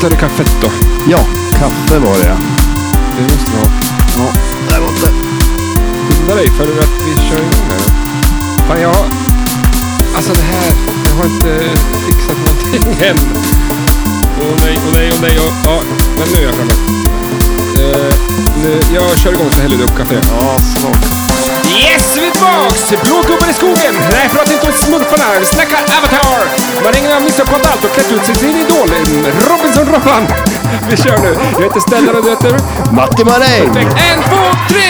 så är det kaffet då. Ja, kaffe var det. Det måste vi ha. Ja, där borta. Skynda dig för att vi kör igång här. Fan, jag har... Alltså det här... Jag har inte eh, fixat någonting än. Åh nej, åh nej, åh nej. åh- Ja, men nu är jag framme. Eh, nu, jag kör igång så häller du upp kaffe. Ja, snart. Yes, vi är tillbaks! Blågubbar i skogen! Nej, pratar inte om smurfarna. Vi snackar Avatar! Marängen har missuppfattat allt och klätt ut sig till sin idol, Robinson-Robban. Vi kör nu. Jag heter Stellan och du heter... Macke Maräng! Perfekt. En, två, tre!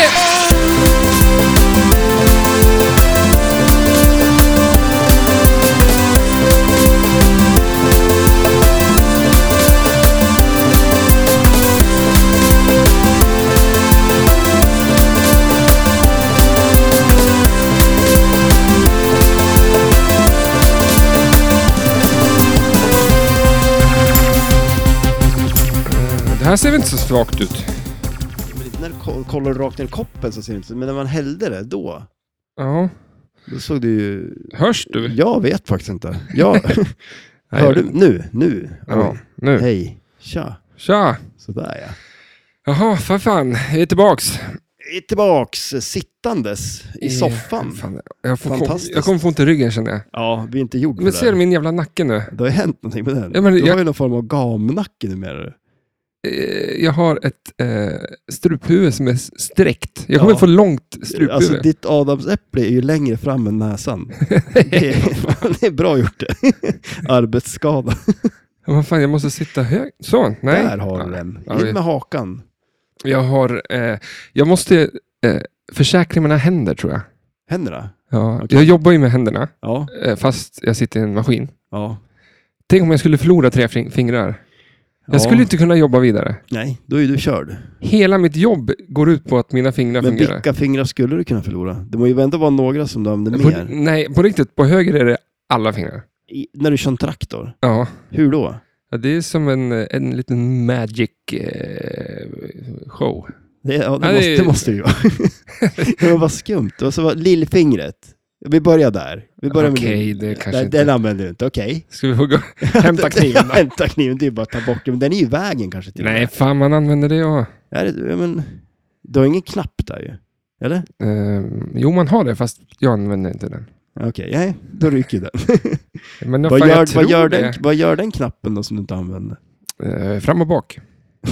Det här ser väl inte så svagt ut? Men inte när du ko- kollar rakt ner i koppen så ser det inte ut, men när man hällde det då, Ja. då såg det ju... Hörs du? Jag vet faktiskt inte. Jag... Hör du? Nu, nu. Ja, Oj. nu. Hej. Tja. Tja! Sådär ja. Jaha, för fan. Jag är tillbaks. Vi är tillbaks eh, sittandes i Eh, soffan. Fan, jag, får, Fantastiskt. jag kommer få ont i ryggen känner jag. Ja, vi är inte gjorda Men för ser du det. min jävla nacke nu? Det har ju hänt någonting med den. Ja, men du jag- har ju någon form av gamnacke numera. Eh, Jag har ett eh, struphuvud som är s- sträckt. Jag kommer Ja. få långt struphuvud. Alltså ditt adamsäpple är ju längre fram än näsan. Det är, det är bra gjort det. Arbetsskada. Ja, Vad fan, jag måste sitta högt. Så, nej. Där har du den. Ja, vi- In med hakan. Jag har... Eh, jag måste eh, försäkra mina händer tror jag. Händerna? Ja, Okej. Jag jobbar ju med händerna, Ja. eh, fast jag sitter i en maskin. ja. Tänk om jag skulle förlora tre fing- fingrar. Jag Ja. skulle inte kunna jobba vidare. Nej, då är du körd. Hela mitt jobb går ut på att mina fingrar Men fungerar. vilka fingrar skulle du kunna förlora? Det må ju ändå vara några som du använder På, mer. nej, på riktigt. På höger är det alla fingrar. I, när du kör en traktor, Ja. hur då? ja det är som en, en liten magic eh, show. Det, ja, det, Ja, det måste, är- det måste det ju vara. det var bara skumt. Och så var lillfingret. Vi börjar där. Vi börjar Okej, med lill- det kanske Nej, inte... Den använder du inte, okej. Ska vi få gå? Hämta kniven. då? Hämta kniven, det är ju bara att ta bort den. Men den är ju i vägen kanske. Till och med. nej, fan man använder det ja. Är det, ja, men, du har ingen knapp där ju. Eller? Eh, jo, man har det, fast jag använder inte den. Okej, nej, då ryker den. Men vad, fan, gör, jag tror vad, gör den det. vad gör den knappen då som du inte använder? Eh, fram och bak.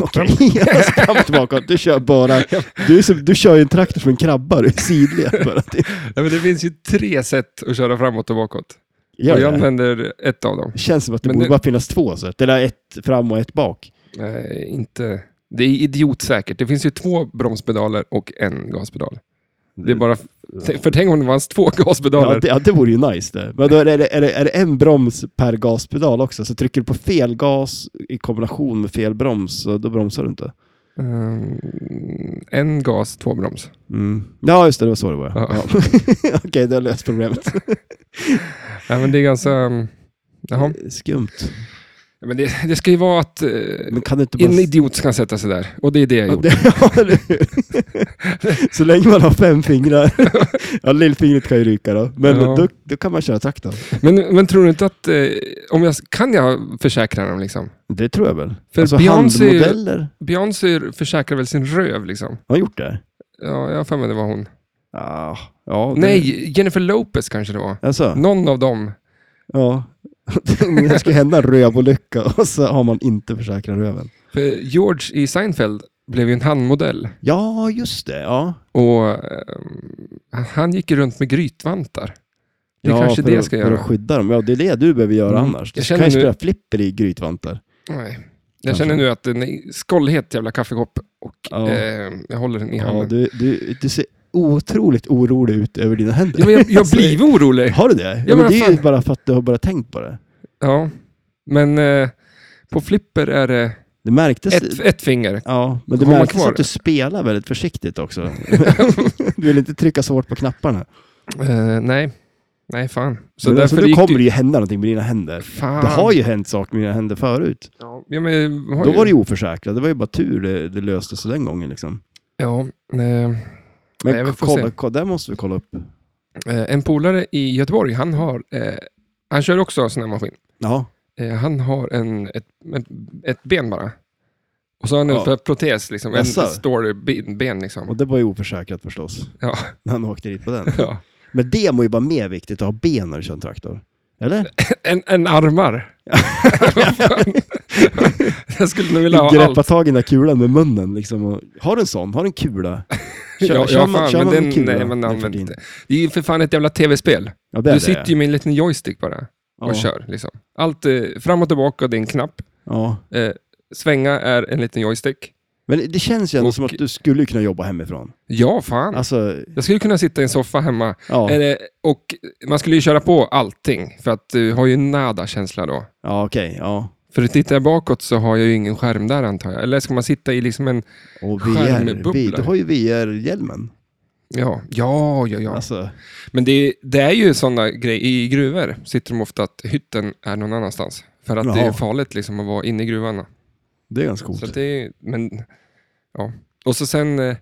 Okej, alltså, fram och tillbaka. Du kör bara... Du, är som, du kör ju en traktor som en krabba, du är sidled bara. Det- Nej, men det finns ju tre sätt att köra framåt och bakåt. Gör och jag det. använder ett av dem. Det känns som att det Men borde det- bara finnas två sätt. Eller ett fram och ett bak. Eh, inte... Det är idiotsäkert. Det finns ju två bromspedaler och en gaspedal. Det är bara... För tänk om det fanns två gaspedaler. Ja, det, ja, det vore ju nice det. Men då är det, är, det, är, det, är det en broms per gaspedal också? Så trycker du på fel gas i kombination med fel broms, så då bromsar du inte. Ehm, en gas, två broms. Mm. Ja, just det. Det var så det var. Ja. Ja. Okej, det har löst problemet. Ja, men det är ganska... mm, Jaha. Eh, Skumt. Ja, Men det, det ska ju vara att eh, Men kan du inte bara... en idiot ska sätta sig där. Och det är det jag Ja, gjorde. det, ja, eller hur? så länge man har fem fingrar. ja, lillfingret kan ju ryka då. Men Ja. då, då kan man köra traktorn. Men, men tror du inte att... Eh, om jag, kan jag försäkra dem liksom? Det tror jag väl. För alltså Beyoncé är ju- handmodeller. Beyoncé försäkrar väl sin röv liksom? Har hon gjort det? Ja, jag har för mig det var hon. Ja. ja det- Nej, Jennifer Lopez kanske det var. Alltså, Någon av dem. ja. Men det ska hända en rövolycka och så har man inte försäkrat röven. För George i Seinfeld blev ju en handmodell. Ja, just det. Ja. Och ehm, han- han gick ju runt med grytvantar. Det är ja, kanske för det jag att- ska För göra. att skydda dem. Ja, det är det du behöver göra Mm. annars. Jag Du känner kan ju nu- spela flipper i grytvantar. Nej. Jag Kanske. känner nu att den är skållhet jävla kaffekopp och Ja. eh, jag håller den i Ja, handen. Ja, du, du, du ser otroligt orolig ut över dina händer. men jag jag Alltså, blir orolig. Har du det? Ja, men men det är fan. ju bara för att du har bara tänkt på det. Ja. Men eh, på flipper är det Det märktes... ett, ett finger. Ja, men det Har man märktes kvar att du det? spelar väldigt försiktigt också. du vill inte trycka så hårt på knapparna. Eh, nej. Nej, fan. Så men alltså, därför nu gick kommer det det ju hända någonting med dina händer. Fan. Det har ju hänt saker med dina händer förut. Ja, men, jag har Då ju- var det ju oförsäkrat. Det var ju bara tur det, det löste sig den gången. Liksom. Ja, eh, Men Nej, vi får kolla, se. kolla, där måste vi kolla upp. eh, en polare i Göteborg, han har... Eh, han kör också sån här maskin. Ja, Eh, Eh, han har en, ett, ett, ett ben bara. Och så har han en Ja. protes, liksom. en Jaså? stor ben, ben liksom. Och det var ju oförsäkrat förstås, Ja, när han åkte dit på den. ja. Men det må ju vara mer viktigt att ha ben när du kör en traktor. Eller? En, en armar. Vad fan? jag skulle nog vilja ha allt. Greppa tag i den där kulan med munnen liksom. Och, har du en sån? Har du en kula? Kör, ja, kör ja, man, fan, kör men man den, med kula? nej, man nu för använder tiden? inte. Det är ju för fan ett jävla tv-spel. Ja, det är Du det. sitter ju med en liten joystick bara och ja. kör. Liksom. Allt eh, fram och tillbaka, det är en knapp. Ja. Eh, svänga är en liten joystick. Men det känns ju ändå Och- som att du skulle ju kunna jobba hemifrån. Ja, fan. Alltså, Jag skulle kunna sitta i en soffa hemma. ja. Eh, och man skulle ju köra på allting, för att du har ju nada-känsla då. Ja, okej. ja. För tittar jag bakåt så har jag ju ingen skärm där antar jag. Eller ska man sitta i liksom en... Och VR, Skärmbubblor. vi, du har ju VR-hjälmen. Ja, ja, ja. ja. Alltså, Men det, det är ju sådana grejer. I gruvor sitter de ofta att hytten är någon annanstans. För att det Jaha. är farligt liksom att vara inne i gruvan. det är ganska Så att coolt. det är, men, ja. Och så sen eh,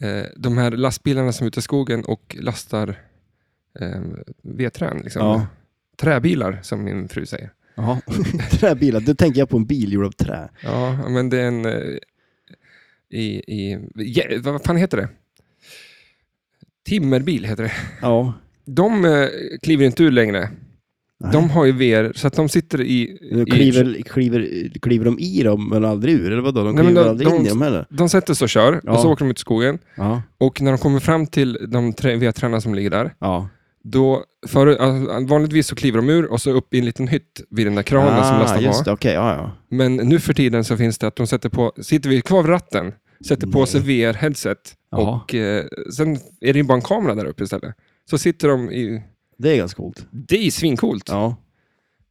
eh, de här lastbilarna som är ute i skogen och lastar eh, vedträn. Liksom. Ja. Träbilar som min fru säger. Jaha. Träbilar, då tänker jag på en bil gjord av trä. Ja, men det är en... eh, I, i, ja, vad fan heter det? Timmerbil heter det. Ja. De eh, kliver inte ur längre. Nej. De har ju VR, så att de sitter i... Nu i kliver, kliver, kliver de i dem men aldrig ur, eller vadå? De Nej, kliver men de- aldrig in de- i dem heller? de sätter sig och kör, Ja. och så åker de ut i skogen. Ja. Och när de kommer fram till de tre vedtränarna som ligger där, ja. då för, alltså, vanligtvis så kliver de ur och så upp i en liten hytt vid den där kranen som lastar Ah, på. just det. Okej, ja, ja. Men nu för tiden så finns det att de sätter på, sitter vi kvar vid ratten, sätter på Nej. sig VR-headset Jaha. och eh, sen är det ju bara en kamera där uppe istället. Så sitter de i... Det är ganska coolt. Det är svincoolt. Ja.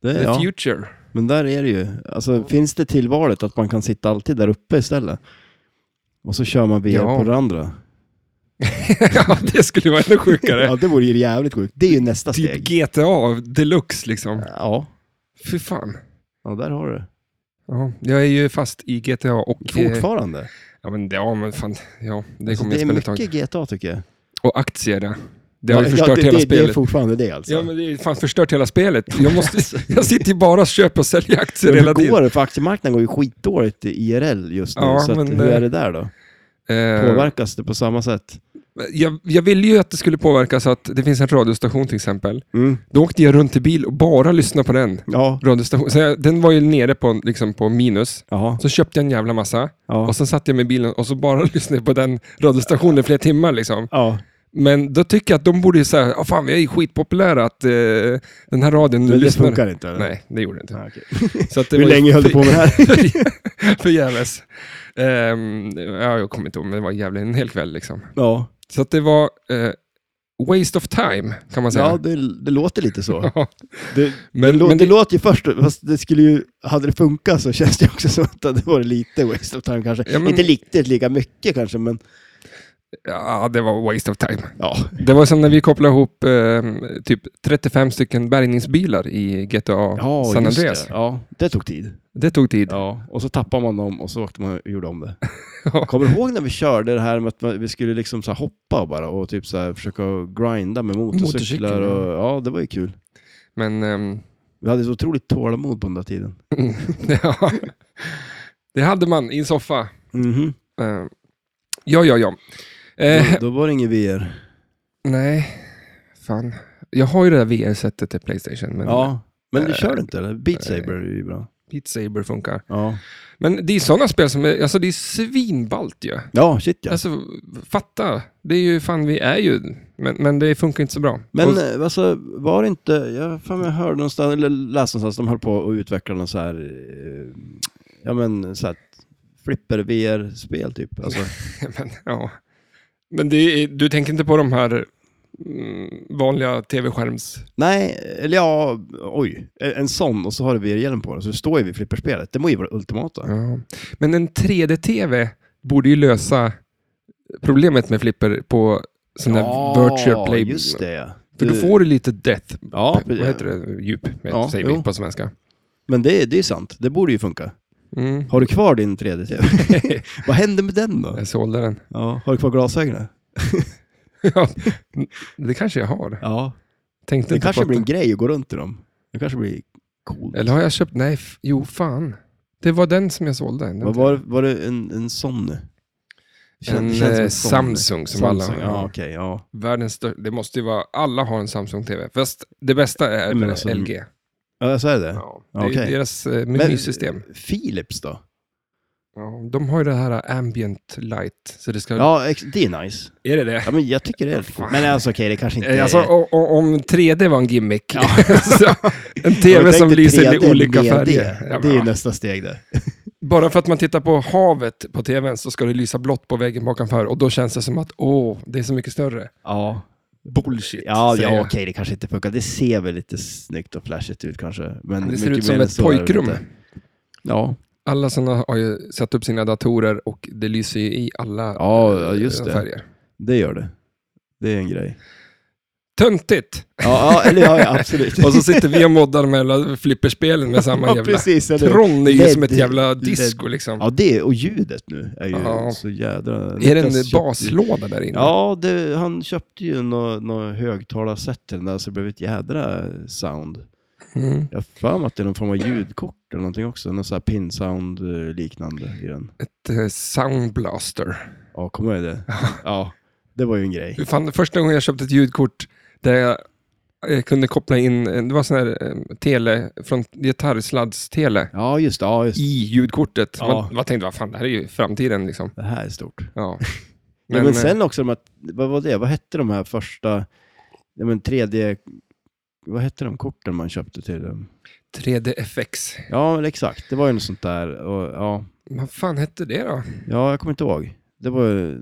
Det, The ja. future. Men där är det ju. Alltså, finns det tillvalet att man kan sitta alltid där uppe istället? Och så kör man VR Ja. på det andra. ja, det skulle vara ännu sjukare. Ja, det vore ju jävligt sjukt. Det är ju nästa typ steg. GTA deluxe liksom. Ja. Fy fan. ja, där har du det. Ja, jag är ju fast i GTA och... eh, Fortfarande. Ja, men, det- ja, men fan. Ja, det Alltså, kommer det jag är spela ett tag. mycket GTA tycker jag. Och aktier, ja. Det har ju Ja, förstört ja, det, hela det, spelet. Det är fortfarande det alltså. Ja, men det är fan förstört hela spelet. Jag, måste, jag sitter ju bara och köper och säljer aktier Men hela hur tiden. går det? För aktiemarknaden går ju skitdåligt i IRL just nu. Ja, så att, men, hur eh, är det där då? Eh, Påverkas det på samma sätt? jag, jag ville ju att det skulle påverka så att det finns en radiostation till exempel. Mm. Då åkte jag runt i bil och bara lyssnade på den. Ja. Radiostation. Så jag, den var ju nere på, liksom, på minus. Jaha. Så köpte jag en jävla massa Ja. och sen satt jag med bilen och så bara lyssnade jag på den radiostationen i flera timmar. Liksom. ja. Men då tycker jag att de borde ju säga, "Ah, fan vi är ju skitpopulära att eh, den här radion Men det lyssnar. funkar inte? Eller? Nej, det gjorde det inte. Ah, okej. Så att det Hur var ju länge höll du för- på med det här? Förgäves. Um, ja, jag kommer inte ihåg, men det var jävligt en hel kväll. Liksom. Ja, Så att det var eh, waste of time, kan man ja säga. det, det låter lite så. Ja, Det, men, lå- men det, det, låter ju först, fast det skulle ju, hade det funkat så känns det också som att det hade varit lite waste of time kanske. Ja, men- Inte riktigt lika mycket kanske, men ja, det var waste of time. ja. Det var som när vi kopplade ihop ehm, typ 35 stycken bärgningsbilar i GTA San just Andreas. Det. Det. Ja, det tog tid. tog tid. Ja, och så tappade man dem och så åkte man och gjorde om det. Ja. Kommer du ihåg när vi körde det här med att man- vi skulle liksom så här hoppa bara och typ så här försöka grinda med motorcyklar? Motorcykel, ja. Och, ja, det var ju kul. Men ehm, Vi hade så otroligt tålamod på den där tiden. ja, det hade man i en soffa. Mhm. Ehm, ja, ja, ja. Eh, Då, då var det ingen VR. Nej, fan. Jag har ju det där VR-sättet till Playstation, men Ja, men du Eh, kör inte eller? Beat Saber är ju bra. Beat Saber funkar. Ja, Men det är sådana spel som är, alltså det är svinballt ju. ja shit ja. Alltså, fatta. Det är ju fan, vi är ju, men, men det funkar inte så bra. Men Och, eh, alltså, var det inte, jag, fan, jag hörde någonstans, eller läste någonstans, de höll på att utveckla någon så här, eh, ja men så här, flipper VR-spel typ. Alltså, men, ja. men det är, du tänker inte på de här mm, vanliga tv-skärms... nej, eller ja, oj, en sån och så har du VR-hjälm på dig, så du står ju vid flipperspelet. Det må ju vara det ultimata. Ja. Men en 3D-tv borde ju lösa problemet med flipper på sån här virtual play. just det ja. För då Du- får du lite death Ja, vad heter det? Djup, Ja, säger vi jo. på svenska. men det, det är sant. Det borde ju funka. Mm. Har du kvar din 3D-tv? Vad händer med den då? Jag sålde den. Ja, har du kvar glasögonen? Ja, det kanske jag har. Ja. Tänkte Det inte på kanske att- blir en grej att gå runt i dem. Det kanske blir coolt. Eller har jag köpt? Nej, f- jo fan. Det var den som jag sålde. Den Vad var, var det en, en Sony? Kän- en känns som eh, en sån. Samsung som alla Samsung, Ja, okej, ja. Världens största. Det måste ju vara, alla har en Samsung-TV. Fast det bästa är Men alltså, LG. Ja, så är det. Ja, det är ju okej. deras eh, Men, menysystem. Philips då? Ja, de har ju det här eh, ambient light. Så det ska... Ja, ex- det är nice. Är det det? Ja, men jag tycker det är lite coolt. Men alltså okej, det kanske inte Eh, Alltså, är... o- o- om 3D var en gimmick. så, en TV Jag som tänkte lyser 3D i olika med färger. Det, Ja, det är ju men, nästa steg där. Bara för att man tittar på havet på TVn så ska det lysa blått på väggen bakomför. Och då känns det som att åh, det är så mycket större. Ja, Bullshit. ja, säger ja jag. okej, det kanske inte funkar. Det ser väl lite snyggt och flashigt ut kanske. Men Det ser mycket ut som mer än ett så är det pojkrum. inte. Ja, Alla sådana har ju satt upp sina datorer och det lyser ju i alla Ja, eh, ja, just det. färger. det gör det. Det är en grej. Töntigt! Ja, ja eller ja, ja absolut. Och så sitter vi och moddar de här flipperspelen med samma ja, jävla... precis. Eller? hur? Tron är ju LED, som ett jävla LED. disco liksom. Ja, det och ljudet nu är ju Ja. så jädra... Är det en Niklas köpte ju- baslåda där inne? Ja, det, han köpte ju något nå högtalarset till den där så det blev ett jädra sound. Mm. Jag har för mig att det är någon form av ljudkort eller någonting också. Någon sån här pinsound eh, liknande i den. Ett eh, soundblaster. Ja, kommer du ihåg det? Ja, det var ju en grej. Fan, första gången jag köpte ett ljudkort där jag eh, kunde koppla in, eh, det var sån här eh, tele, från gitarrsladdstele Ja, just det. Ja, just det. i ljudkortet. Ja. Man, man tänkte, vad fan, det här är ju framtiden liksom. det här är stort. Ja. Men, eh, ja, eh, men sen också de här, vad var det? Vad hette de här första, ja men 3D, vad hette de korten man köpte till dem? eh, 3DFX. Ja, men exakt. Det var ju något sånt där. Och, ja, Vad fan hette det då? ja, jag kommer inte ihåg. Det var ju,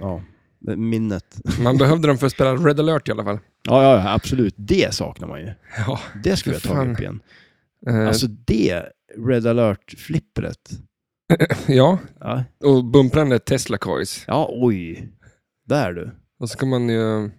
ja, det- minnet. Man behövde dem för att spela Red alert i alla fall. Ja, ja, ja, absolut. Det saknar man ju. Ja. Det skulle jag För ta fan. upp igen. Eh, Alltså det, Red Alert-flippret. ja. Ja. Och bumpraren är Tesla Coils. ja, oj. Där du. Och så kan man ju...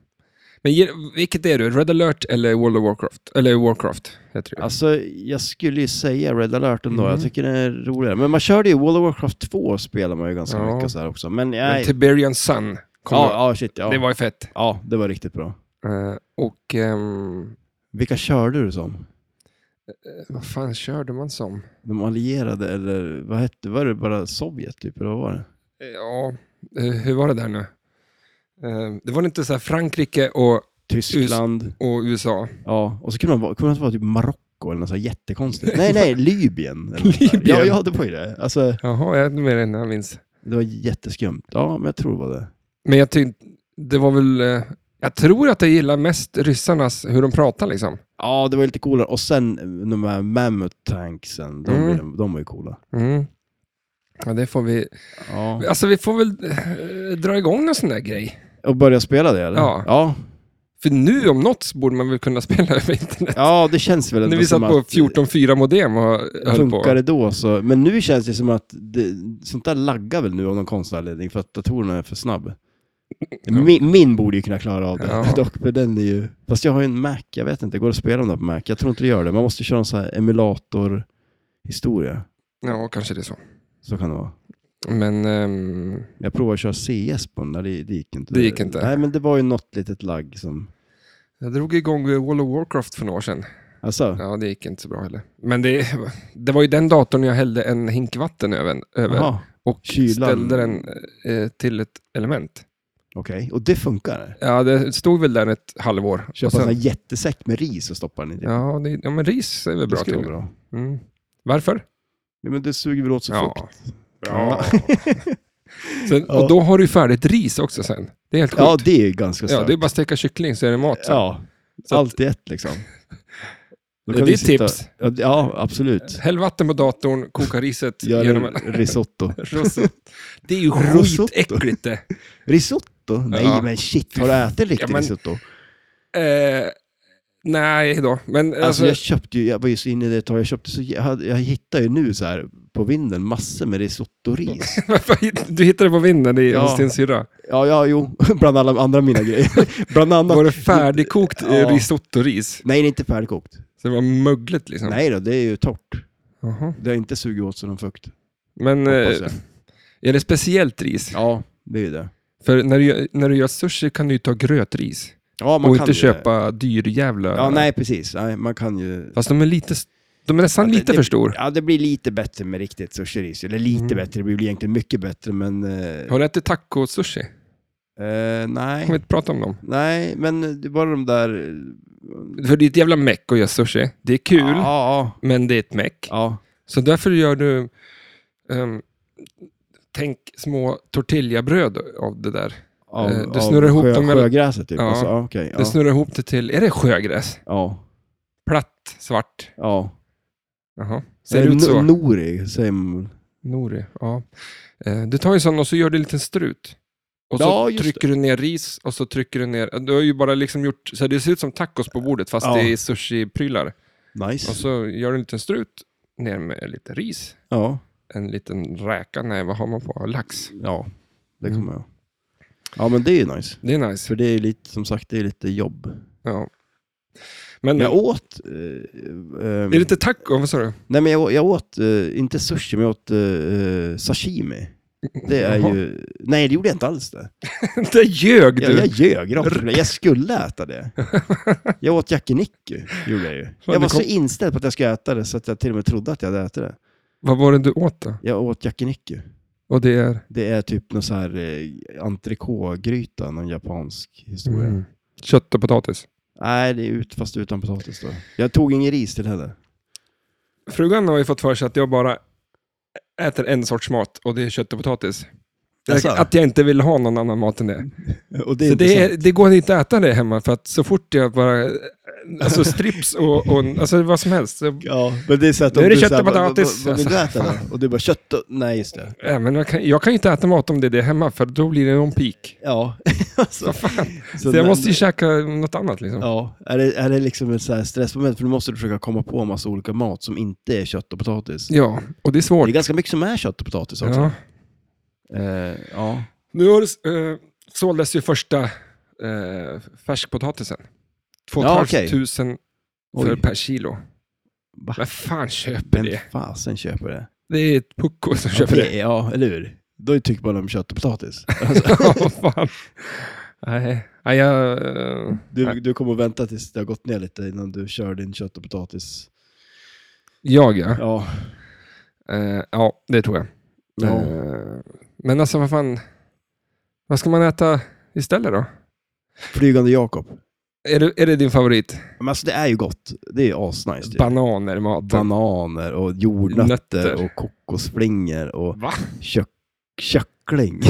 Men ge- vilket är du? Red alert eller World of Warcraft? Eller Warcraft heter det. Alltså, jag skulle ju säga Red Alert ändå. Mm. Jag tycker den är roligare. Men man körde ju World of Warcraft 2 spelar man ju ganska Ja. mycket så här också. Men Men nej. Tiberian Sun kom då. Ja, ja, shit. Ja. Det var ju fett. ja, det var riktigt bra. Eh, och ehm, eh, Vilka körde du som? vad fan körde man som? De allierade eller vad hette Var det bara Sovjet typ? Eller vad var det? Eh, Ja, eh, hur var det där nu? Eh, det var inte så här Frankrike och, Tyskland. och USA. Ja, och så kunde man vara, kunde man vara typ Marocko eller något så här jättekonstigt. Nej, nej, Libyen. eller något där. Libyen. Ja, ja, det var ju det. Alltså, Jaha, jag är mer än jag minns. Det var jätteskumt. Ja, men jag tror det var det. Men jag tyckte, det var väl... eh, jag tror att jag gillar mest ryssarnas, hur de pratar liksom. Ja, det var lite coolare. Och sen eh, de här Mammoth Tanksen, de, Mm. de, de var ju coola. Mm. Ja, det får vi... Ja. Alltså vi får väl eh, dra igång någon sån där grej. Och börja spela det eller? Ja. Ja, För nu om något så borde man väl kunna spela över internet. Ja, det känns väl ändå När vi satt som på att 14.4 modem och höll på. funkar det då så. Men nu känns det som att det, sånt där laggar väl nu av någon konstig anledning för att datorerna är för snabb. Min, min borde ju kunna klara av det Ja. dock, men den är ju... Fast jag har ju en Mac, jag vet inte, går det att spela om det på Mac? Jag tror inte det gör det. Man måste köra en sån här emulator-historia. Ja, kanske det är så. Så kan det vara. Men ehm, Jag provade att köra CS på den där, det, det gick inte. Det gick inte. Nej, men det var ju något litet lagg som... jag drog igång eh, World of Warcraft för några år sedan. Alltså, Ja, det gick inte så bra heller. Men det, det var ju den datorn jag hällde en hink vatten över, över jaha, och kylan. ställde den eh, till ett element. okej. Och det funkar? Ja, det stod väl där ett halvår. Och Köpa en sen- sån här jättesäck med ris och stoppa den i. typ. ja, det, ja, men ris är väl det bra skulle vara till. bra. Mm. Varför? Ja, men det suger väl åt sig Ja. fukt? Ja. sen, Ja. och då har du ju färdigt ris också sen. Det är helt sjukt. Ja, Ja, det är ju ganska starkt. det är bara att steka kyckling så är det mat. sen. Ja, Så att- allt i ett liksom. Då Det kan är vi ditt sitta- tips. Ja, det- Ja, absolut. Häll vatten på datorn, koka riset Gör genom en en... risotto. Rosett. Det är ju Rosotto. skitäckligt det. Risotto? Nej, Ja. men shit. Har du ätit en riktig men- Alltså- risotto? Eh, nej då, men Alltså alltså, jag köpte ju, jag var ju så inne i det ett tag, jag köpte så, jag, hade- jag hittar ju nu så här på vinden massor med risottoris. du hittade på vinden i, Ja. hos din syrra. Ja, ja, jo, bland alla andra mina grejer. bland annat. Var det färdigkokt eh, Ja. risottoris? Nej, det är inte färdigkokt. Så det var mögligt liksom? Nej då, det är ju torrt. Jaha. Det har inte sugit åt sig någon fukt, Men hoppas eh, jag. är det speciellt ris? Ja, det är ju det. För när du, gör- när du gör sushi kan du ju ta grötris. Ja, man och kan inte ju Det. köpa dyrjävla. Ja, nej precis. Nej, man kan ju... Fast de är lite... s- De är nästan Ja, det- lite det- för stor. Ja, det blir lite bättre med riktigt sushi riso. Eller lite Mm. bättre, det blir väl egentligen mycket bättre, men... eh, Har du ätit taco-sushi? Eh, nej. Kan vi inte prata om dem? Nej, men det var de där... För det är ett jävla meck att göra sushi. Det är kul, Ja. men det är ett meck. ja. Så därför gör du... ehm, tänk små tortillabröd av det där. Av, Eh, du snurrar ihop dem med- Sjögräset typ? Ja. Ja. Alltså, ja, okej. Du ja. snurrar ihop det till... Är det sjögräs? ja. Platt, svart. Ja. Jaha. Ser Ser det ut så? Nori, säger man. Nori, ja. Eh, Du tar ju en sån och så gör du en liten strut. Och så Ja, just trycker du ner ris och så trycker du ner... Du har ju bara liksom gjort... Så det ser ut som tacos på bordet fast Ja. det är sushi-prylar. Nice. Och så gör du en liten strut ner med lite ris. Ja. En liten räka, nej vad har man på? Lax. Ja, det Mm. kommer jag. Ja, men det är ju nice. Det är nice. För det är ju lite, som sagt, det är lite jobb. Ja. Men Men jag är åt... Eh, ehm, det inte taco? Vad sa du? Nej, men jag, å- jag åt, eh, inte sushi, men jag åt eh, sashimi. Det är Jaha. ju... Nej, det gjorde jag inte alls det. Där ljög Jag, du! jag ljög rakt upp. Jag skulle äta det. Jag åt yakiniku, gjorde jag ju. du Jag kom- var så inställd på att jag skulle äta det så att jag till och med trodde att jag hade ätit det. Vad var det du åt då? Jag åt yakiniku. Och det är... Det är typ någon så här eh, entrecôte-gryta, någon japansk historia. Mm. Kött och potatis. Nej, det är ut, fast utan potatis då. Jag tog ingen ris till heller. Frugan har ju fått för sig att jag bara äter en sorts mat och det är kött och potatis. Jaså? Att jag inte vill ha någon annan mat än det. Och det så det, inte är, det går inte att äta det hemma för att så fort jag bara... Alltså strips och, och alltså vad som helst. Så, Ja, men det är så att Nu är om det du kött och så här, "Vad- vad- potatis." Vad vill du äta då? Och du bara kött och... Nej, just det. äh, men jag, kan, jag kan ju inte äta mat om det är det hemma för då blir det någon pik. Ja. alltså, Så, jag men- måste ju käka något annat liksom. Ja, är det, är det liksom ett så här stressmoment? För du måste du försöka komma på en massa olika mat som inte är kött och potatis. Ja, och det är Det svårt. är ganska mycket som är kött och potatis också. Ja. Eh, ja. Nu har det, eh, såldes ju första eh, färskpotatisen. 2 Ja, okej. 500 för Oj. per kilo. Va? Vem fan köper Vem det? fasen köper det? Det är ett pucko som köper det. Ja, eller hur? Då tycker man om kött och potatis. Ja, fan. Nej, nej, jag... eh, Du, du kommer att vänta tills det har gått ner lite innan du kör din kött och potatis. Jag, ja. Ja. Eh, ja, det tror jag. Ja. Eh, men alltså, vad fan... Vad ska man äta istället då? Flygande Jakob. Är det, är det din favorit? Men alltså det är ju gott. Det är ju asnice. typ. Bananer i maten? Bananer och jordnötter Nötter. och kokosflingor och Va? kök, kökling.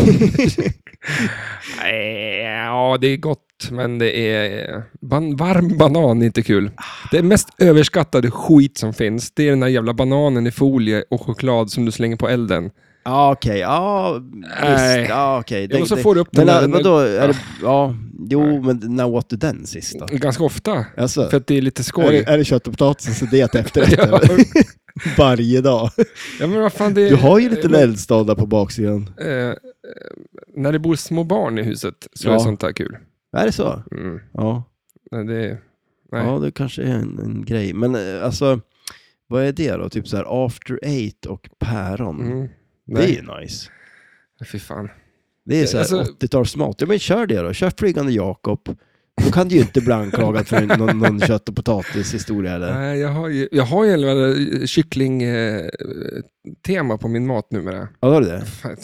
Nej, Eh, ja, det är gott, men det är... eh, Ban varm banan är inte kul. Det mest överskattade skit som finns, det är den där jävla bananen i folie och choklad som du slänger på elden. Ja, okej. Ja, Nej. visst. Ja, okej. och så Det- får du upp Men den där... äh, vadå, är det, ja, jo, men när åt du den sist då? Ganska ofta, Alltså, för att det är lite skoj. är, det, är det kött och potatis så det är efterrätten? Ja. Varje dag. Ja, men vad fan, det, Du har ju lite eh, eldstad på baksidan. eh, eh, När det bor små barn i huset så är Ja. sånt här kul. Är det så? Mm. Ja, Nej, Det, nej. ja det kanske är en, en grej. Men eh, alltså, vad är det då? Typ så här after eight och päron. Mm. Det är nej. ju nice. Fy fan. Det är så här Alltså- 80-talsmat. Ja men kör det då, kör Flygande Jakob. Då kan du ju inte bli anklagad för en- någon, någon kött och potatishistoria eller? Nej, jag har ju, jag har ju en jävla eh, kyckling-tema på min mat numera. Ja, var det det? Fan.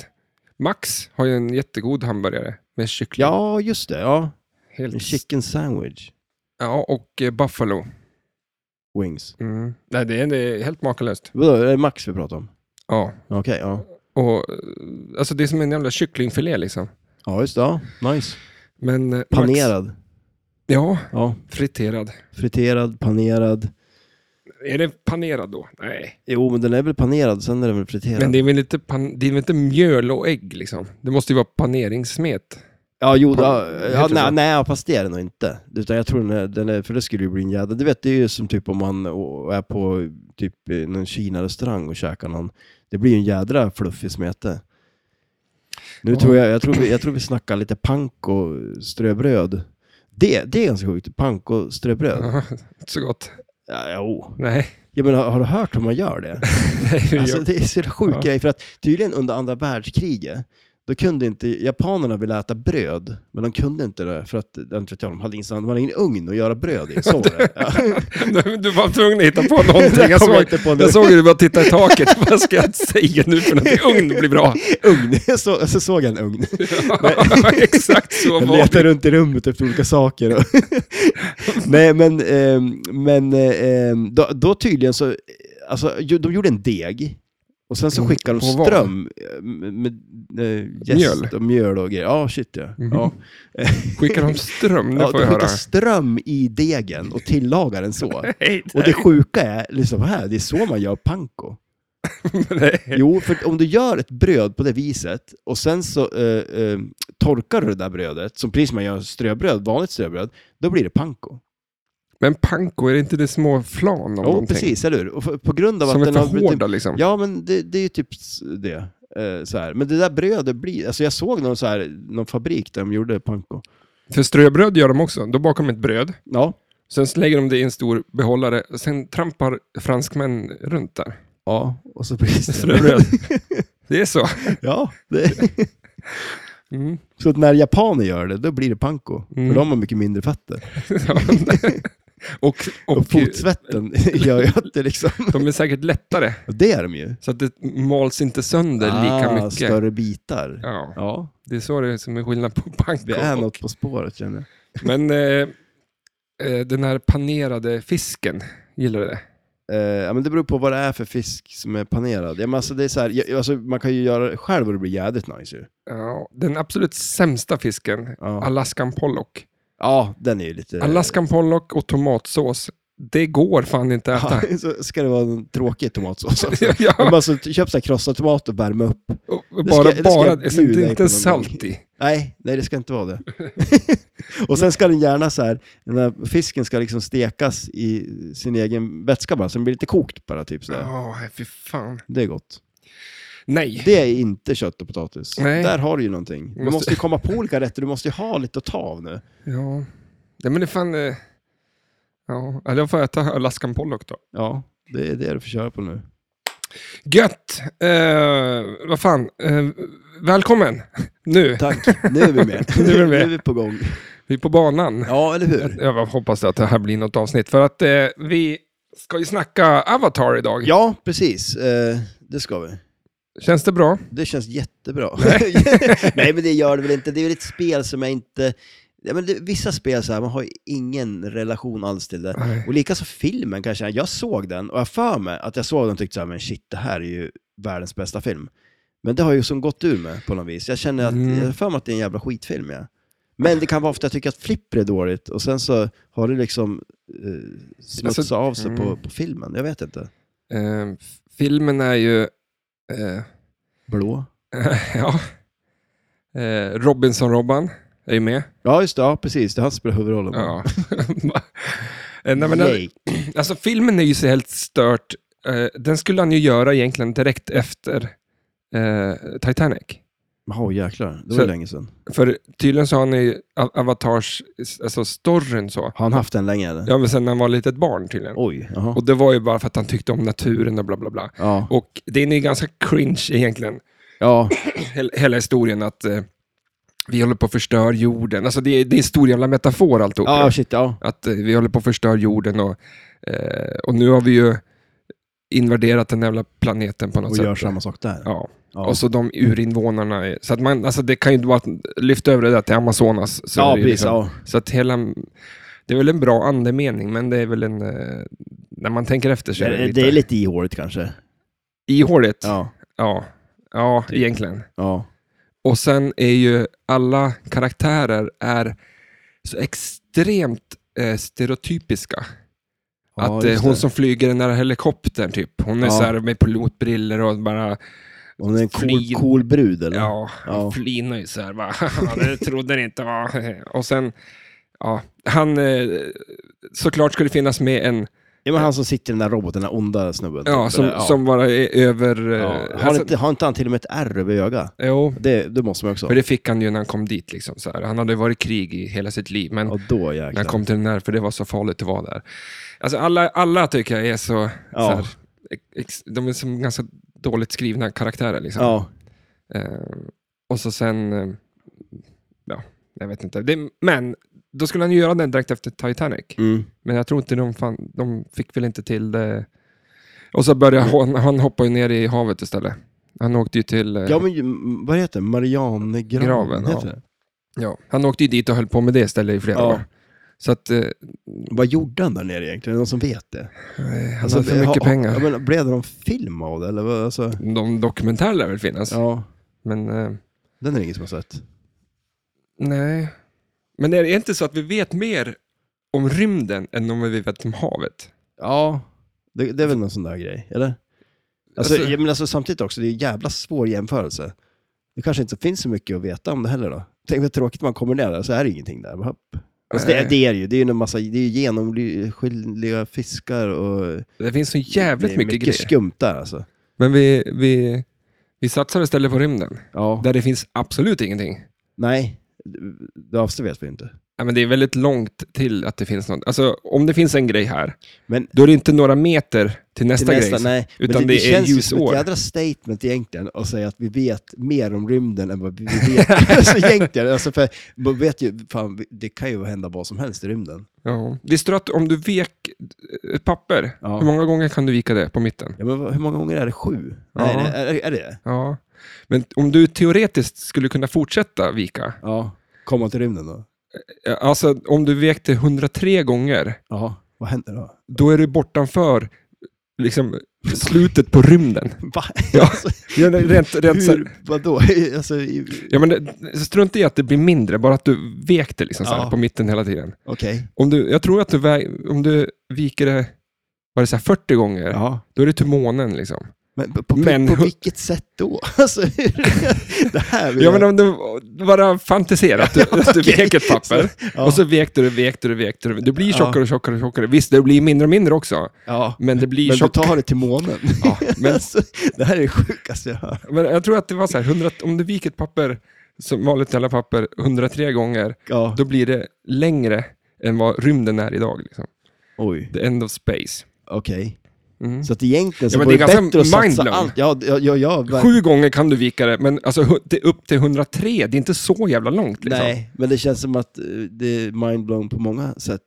Max har ju en jättegod hamburgare med kyckling. Ja, just det. Ja. En Helt, chicken sandwich. ja och eh, buffalo. Wings. Mm. Nej, det är, det är helt makalöst. Vadå, är det Max vi pratar om? Ja. Okej, ja. Och, eh, alltså det är som en jävla kycklingfilé liksom. Ja, just det. Ja. Nice. Men, eh, Max- Panerad. Ja, Ja. friterad. Friterad, panerad. Är det panerad då? Nej. Jo, men den är väl panerad, sen är den väl friterad. Men det är väl inte, pan, det är väl inte mjöl och ägg liksom? Det måste ju vara paneringssmet. Ja, jo, Pan- ja, heter ja, det så? nej, nej, fast det är det nog inte. Utan jag tror den är, den är, för det skulle ju bli en jävla... Du vet, det är ju som typ om man å- är på typ eh, någon Kina-restaurang och käkar någon. Det blir ju en jädra fluffig smete. Nu Ja. tror jag, jag tror, vi, jag tror vi snackar lite panko ströbröd. Det, det är ganska sjukt, panko ströbröd. Ja, inte så gott. Ja, jo. Nej. Ja, men har, har du hört hur man gör det? Nej, Alltså, jag- det är så sjuk Ja. grej, för att tydligen under andra världskriget, Då kunde inte, japanerna ville äta bröd, men de kunde inte det för att jag inte vet jag, de hade ingen, de hade ingen ugn att göra bröd i. Så var det. Ja. Du, du var tvungen att hitta på någonting. Det Jag kommer såg, jag inte på nu. jag såg hur du bara tittade i taket. Vad ska jag säga nu för någonting? Ugn blir bra. Ugn, jag, så, jag såg en ugn. Ja, Exakt så Jag var letar det. runt i rummet efter olika saker. Och Nej, men, ehm, men ehm, då, då tydligen så, alltså, ju- de gjorde en deg och sen så Mm, skickade de på vad? ström eh, med eh, jäst Mjöl. och mjöl och grejer. Ja, shit ja. Mhm. ja. Skickar de ström? Nu ja får de jag höra. skickar ström i degen och tillagar den så. Nej, Och det sjuka är, liksom här, det är så man gör panko. nej. Jo, för om du gör ett bröd på det viset och sen så eh, eh, torkar du det där brödet, som precis som man gör ströbröd, vanligt ströbröd, då blir det panko. Men panko, är det inte det små flan av Jo, någonting? precis, eller hur? Och för, på grund av Som att är den för har... typ- hårda liksom. Ja, men det, det är ju typ s- det. Eh, så här. Men det där brödet blir... Alltså jag såg någon, så här, någon fabrik där de gjorde panko. För ströbröd gör de också. Då bakar de ett bröd. Ja. Sen lägger de det i en stor behållare. Sen trampar franskmän runt där. Ja, och så blir det Ströbröd. det är så. Ja. Det, Mm. så att när japaner gör det, då blir det panko. Mm. För de har mycket mindre fetter. och, och, Och fotsvetten gör ju att det liksom... de är säkert lättare. Och det är de ju. Så att det mals inte sönder Ah, lika mycket. Större bitar. Ja, Ja, det är så det är som är skillnad på panko. det är och- något på spåret känner jag. Men eh, eh, den här panerade fisken, gillar du det? Eh, ja, men det beror på vad det är för fisk som är panerad. Ja, men alltså, det är så här, ja, alltså, man kan ju göra det själv och det blir jädrigt nice ju. Ja, den absolut sämsta fisken, Ja. Alaskan Pollock. ja, den är ju lite... Alaskan Pollock och tomatsås, det går fan inte att äta. ja, så ska det vara en tråkig tomatsås också. Men ja, alltså, t- köp så här krossad tomat och värma upp. och ska- bara, det ska bara, jag det bjuda är dig på inte någon salt gång. i. Nej, nej det ska inte vara det. och sen ska den gärna så här, den här fisken ska liksom stekas i sin egen vätska bara, så den blir lite kokt bara typ så där. Ja, fy fan. Det är gott. Nej. Det är inte kött och potatis. Nej. Där har du ju någonting. Du Måste- måste ju komma på olika rätter, du måste ju ha lite att ta av nu. Ja. ja, men det är fan... eh, Ja, eller jag får äta Alaskan Pollock då. Ja, det är det du får köra på nu. Gött! Eh, vad fan. Eh, välkommen! Nu, Tack, nu är vi med. Nu är vi med. nu är vi på gång. vi är på banan. Ja, eller hur? Jag hoppas att det här blir något avsnitt. För att eh, vi ska ju snacka Avatar idag. Ja, precis. Eh, det ska vi. Känns det bra? Det känns jättebra. Nej, men det gör det väl inte. Det är väl ett spel som jag inte... Ja, men det, vissa spel så här, man har ju ingen relation alls till det. Nej. Och likaså filmen kanske. Jag såg den och jag för mig att jag såg den och tyckte så här, men shit, det här är ju världens bästa film. Men det har ju som gått ur mig på något vis. Jag känner att, Mm. jag har för mig att det är en jävla skitfilm. Ja. Men det kan vara för att jag tycker att Flipper är dåligt och sen så har det liksom eh, smutsat Alltså, av sig på, mm. på filmen. Jag vet inte. Eh, filmen är ju... Eh, Blå? ja. Eh, Robinson-Robban är ju med. Ja, just det. Ja, precis. Det är han som spelar huvudrollen. Ja. Eh, Nej, men, Jake. alltså filmen är ju så helt stört. Eh, den skulle han ju göra egentligen direkt efter eh, Titanic. Jaha, jäklar. Det var Så- ju länge sedan. För tydligen så har han ju A- Avatars, alltså storyn så. Har han haft den länge eller? Ja, men sen när han var litet barn tydligen. Oj, jaha. Och det var ju bara för att han tyckte om naturen och bla bla bla. Ja, Och den är ju ganska cringe egentligen, ja, hel- hela historien att eh, vi håller på att förstöra jorden. Alltså det är, det är en stor jävla metafor alltihop. ja shit, ja. Att eh, vi håller på att förstöra jorden och, eh, och nu har vi ju invaderat den jävla planeten på något Och sätt. gör samma sak där. Ja. Ja. och så de urinvånarna. är- Så att man, alltså det kan ju inte vara att lyfta över det där till Amazonas. Så ja, är det ju liksom- precis. Ja. Så att hela, det är väl en bra andemening, men det är väl en, eh, när man tänker efter så är det Det, lite, det är lite ihåligt kanske. ihåligt. Ja. Ja, Typ. Ja, egentligen. ja. Och sen är ju alla karaktärer är så extremt eh, stereotypiska. Ja, att eh, just hon det. som flyger den där helikoptern, typ. hon är Ja. så här med pilotbriller och bara, Hon är en cool, Flin. cool brud eller? ja, Ja. flinar ju så här. Bara, det trodde ni inte var. Och sen, ja, han, eh, såklart ska det finnas med en Ja, men han som sitter i den där roboten, den där onda snubben. Ja, typ, som, eller? som bara är över... eh, Ja. Har, alltså, inte, har inte han till och med ett ärr över ögat? Jo, Det, det måste man också för ha. det fick han ju när han kom dit. Liksom, så här. Han hade varit i krig i hela sitt liv, men Och då när han jäklar. kom till den här, för det var så farligt att vara där. Alltså, alla, alla tycker jag är så... så Ja. här, ex, de är som ganska dåligt skrivna karaktärer. Liksom. Ja, Eh, Och så sen, eh, ja, jag vet inte. Det, men då skulle han ju göra den direkt efter Titanic. Mm. Men jag tror inte de, fan, de fick väl inte till det. Och så började Mm. han, han hoppa ju ner i havet istället. Han åkte ju till... eh, Ja, men ju- m- vad heter det? Marianegraven? Graven, heter ja. det. ja, han åkte ju dit och höll på med det istället i flera Ja. år. Så att... eh, Vad gjorde han där nere egentligen? Är det någon som vet det? han Alltså, hade för ha- mycket ha- pengar. Ja, men, blev det någon film av det? Eller vad? Alltså, De dokumentärer lär väl finnas. ja, Men eh, den är det ingen som har sett. nej. Men är det inte så att vi vet mer om rymden än om vi vet om havet? Ja. Det, det är väl någon sån där grej, eller? Alltså, Alltså- ja, men alltså, samtidigt också, det är en jävla svår jämförelse. Det kanske inte finns så mycket att veta om det heller då. Tänk vad tråkigt man kommer ner där, så är det ju ingenting där. Hopp. Alltså, det, Nej. det är det ju, det är ju en massa, det är ju genomskinliga fiskar och Det finns så det jävligt är mycket, mycket grejer. skumt där alltså. Men vi, vi, vi satsar istället på rymden. Ja. Där det finns absolut ingenting. Nej, det avstår vet vi inte. Ja, men det är väldigt långt till att det finns något. Alltså, om det finns en grej här, Men- då är det inte några meter till nästa, Till grej. liksom. nej. utan men det det, är känns ju som ljusår. ett jädra statement egentligen att säga att vi vet mer om rymden än vad vi vet. alltså, egentligen, alltså, för man vet ju, fan, det kan ju hända vad som helst i rymden. Ja. Visste du att om du vek ett papper, Ja. hur många gånger kan du vika det på mitten? Ja, men vad- hur många gånger är det? Sju? Ja. Nej, nej, är, är det det? Ja. Men om du teoretiskt skulle kunna fortsätta vika, Ja. Komma till rymden då? eh, alltså om du vek det 103 gånger, Ja. Vad händer då? då är du bortanför liksom, slutet på rymden. Va? Ja. Alltså, Ja, nej, Rent, rent, så här- hur, vadå? alltså, i- ja, men det, strunt i att det blir mindre, bara att du vek det liksom, så här, Ja. på mitten hela tiden. Okej. Om du, jag tror att du, vä- om du viker det var det så här 40 gånger, Ja. då är det till månen. Liksom. Men på, på, Men- på vilket sätt då? Alltså, hur- det här vill Ja, jag- men om du bara fantiserar att du, att du Okej. vek ett papper ja. och så vek du det, vek du det, vek du det. Det blir Ja. tjockare och tjockare och tjockare. Visst, det blir mindre och mindre också, ja. men det blir Men du tjockare. tar det till månen. Ja, men, Alltså, det här är det sjukaste jag hört. men jag tror att det var så här, 100, om du viker ett papper, som vanligt alla papper, 103 gånger, Ja. då blir det längre än vad rymden är idag. Liksom. Oj, The end of space. okej. Mm. Så att egentligen så Ja, men var det det är ganska bättre att satsa mindblown. allt. Ja, ja, ja, ja verkligen. Sju gånger kan du vika det, men alltså, hu- det är upp till 103, det är inte så jävla långt. Liksom. Nej, men det känns som att eh, det är mindblown på många sätt.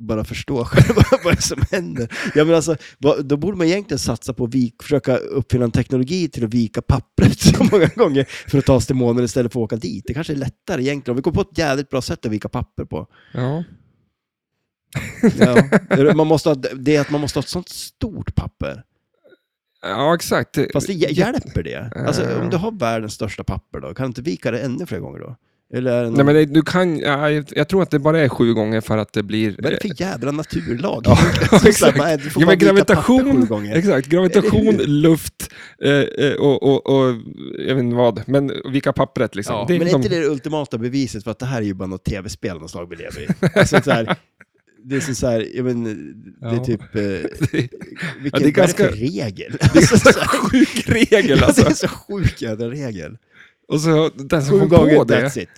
Bara förstå själva vad det är som händer. Ja, men alltså, vad, då borde man egentligen satsa på att vik, försöka uppfinna en teknologi till att vika pappret så många gånger för att ta oss till månen istället för att åka dit. Det kanske är lättare egentligen. Om vi kom på ett jävligt bra sätt att vika papper på. Ja. Ja. Man måste ha, det är att man måste ha ett sånt stort papper. ja, exakt. Fast det hj- hjälper det? Alltså, Eh. om du har världens största papper då, kan du inte vika det ännu fler gånger då? Eller är det någon... Nej, men det, du kan, ja, jag, jag tror att det bara är sju gånger för att det blir... Vad är det för jävla naturlag? Liksom, Ja, Så exakt. här, nej, du får Ja, bara men vika papper gravitation, sju gånger. exakt, gravitation, luft eh, eh, och, och, och jag vet inte vad, men vika pappret liksom. Ja, det, är men är de- inte det det ultimata beviset för att det här är ju bara något tv-spel av något slag vi lever i? Alltså, så här, det är som så här, jag men, det är Ja. typ, eh, vilken, är vad är ganska- det för regel? Alltså, det är så en här, sjuk regel ja, det alltså. är så sjuk jävla regel. Och så den som Sju kom på gånger, det. that's it.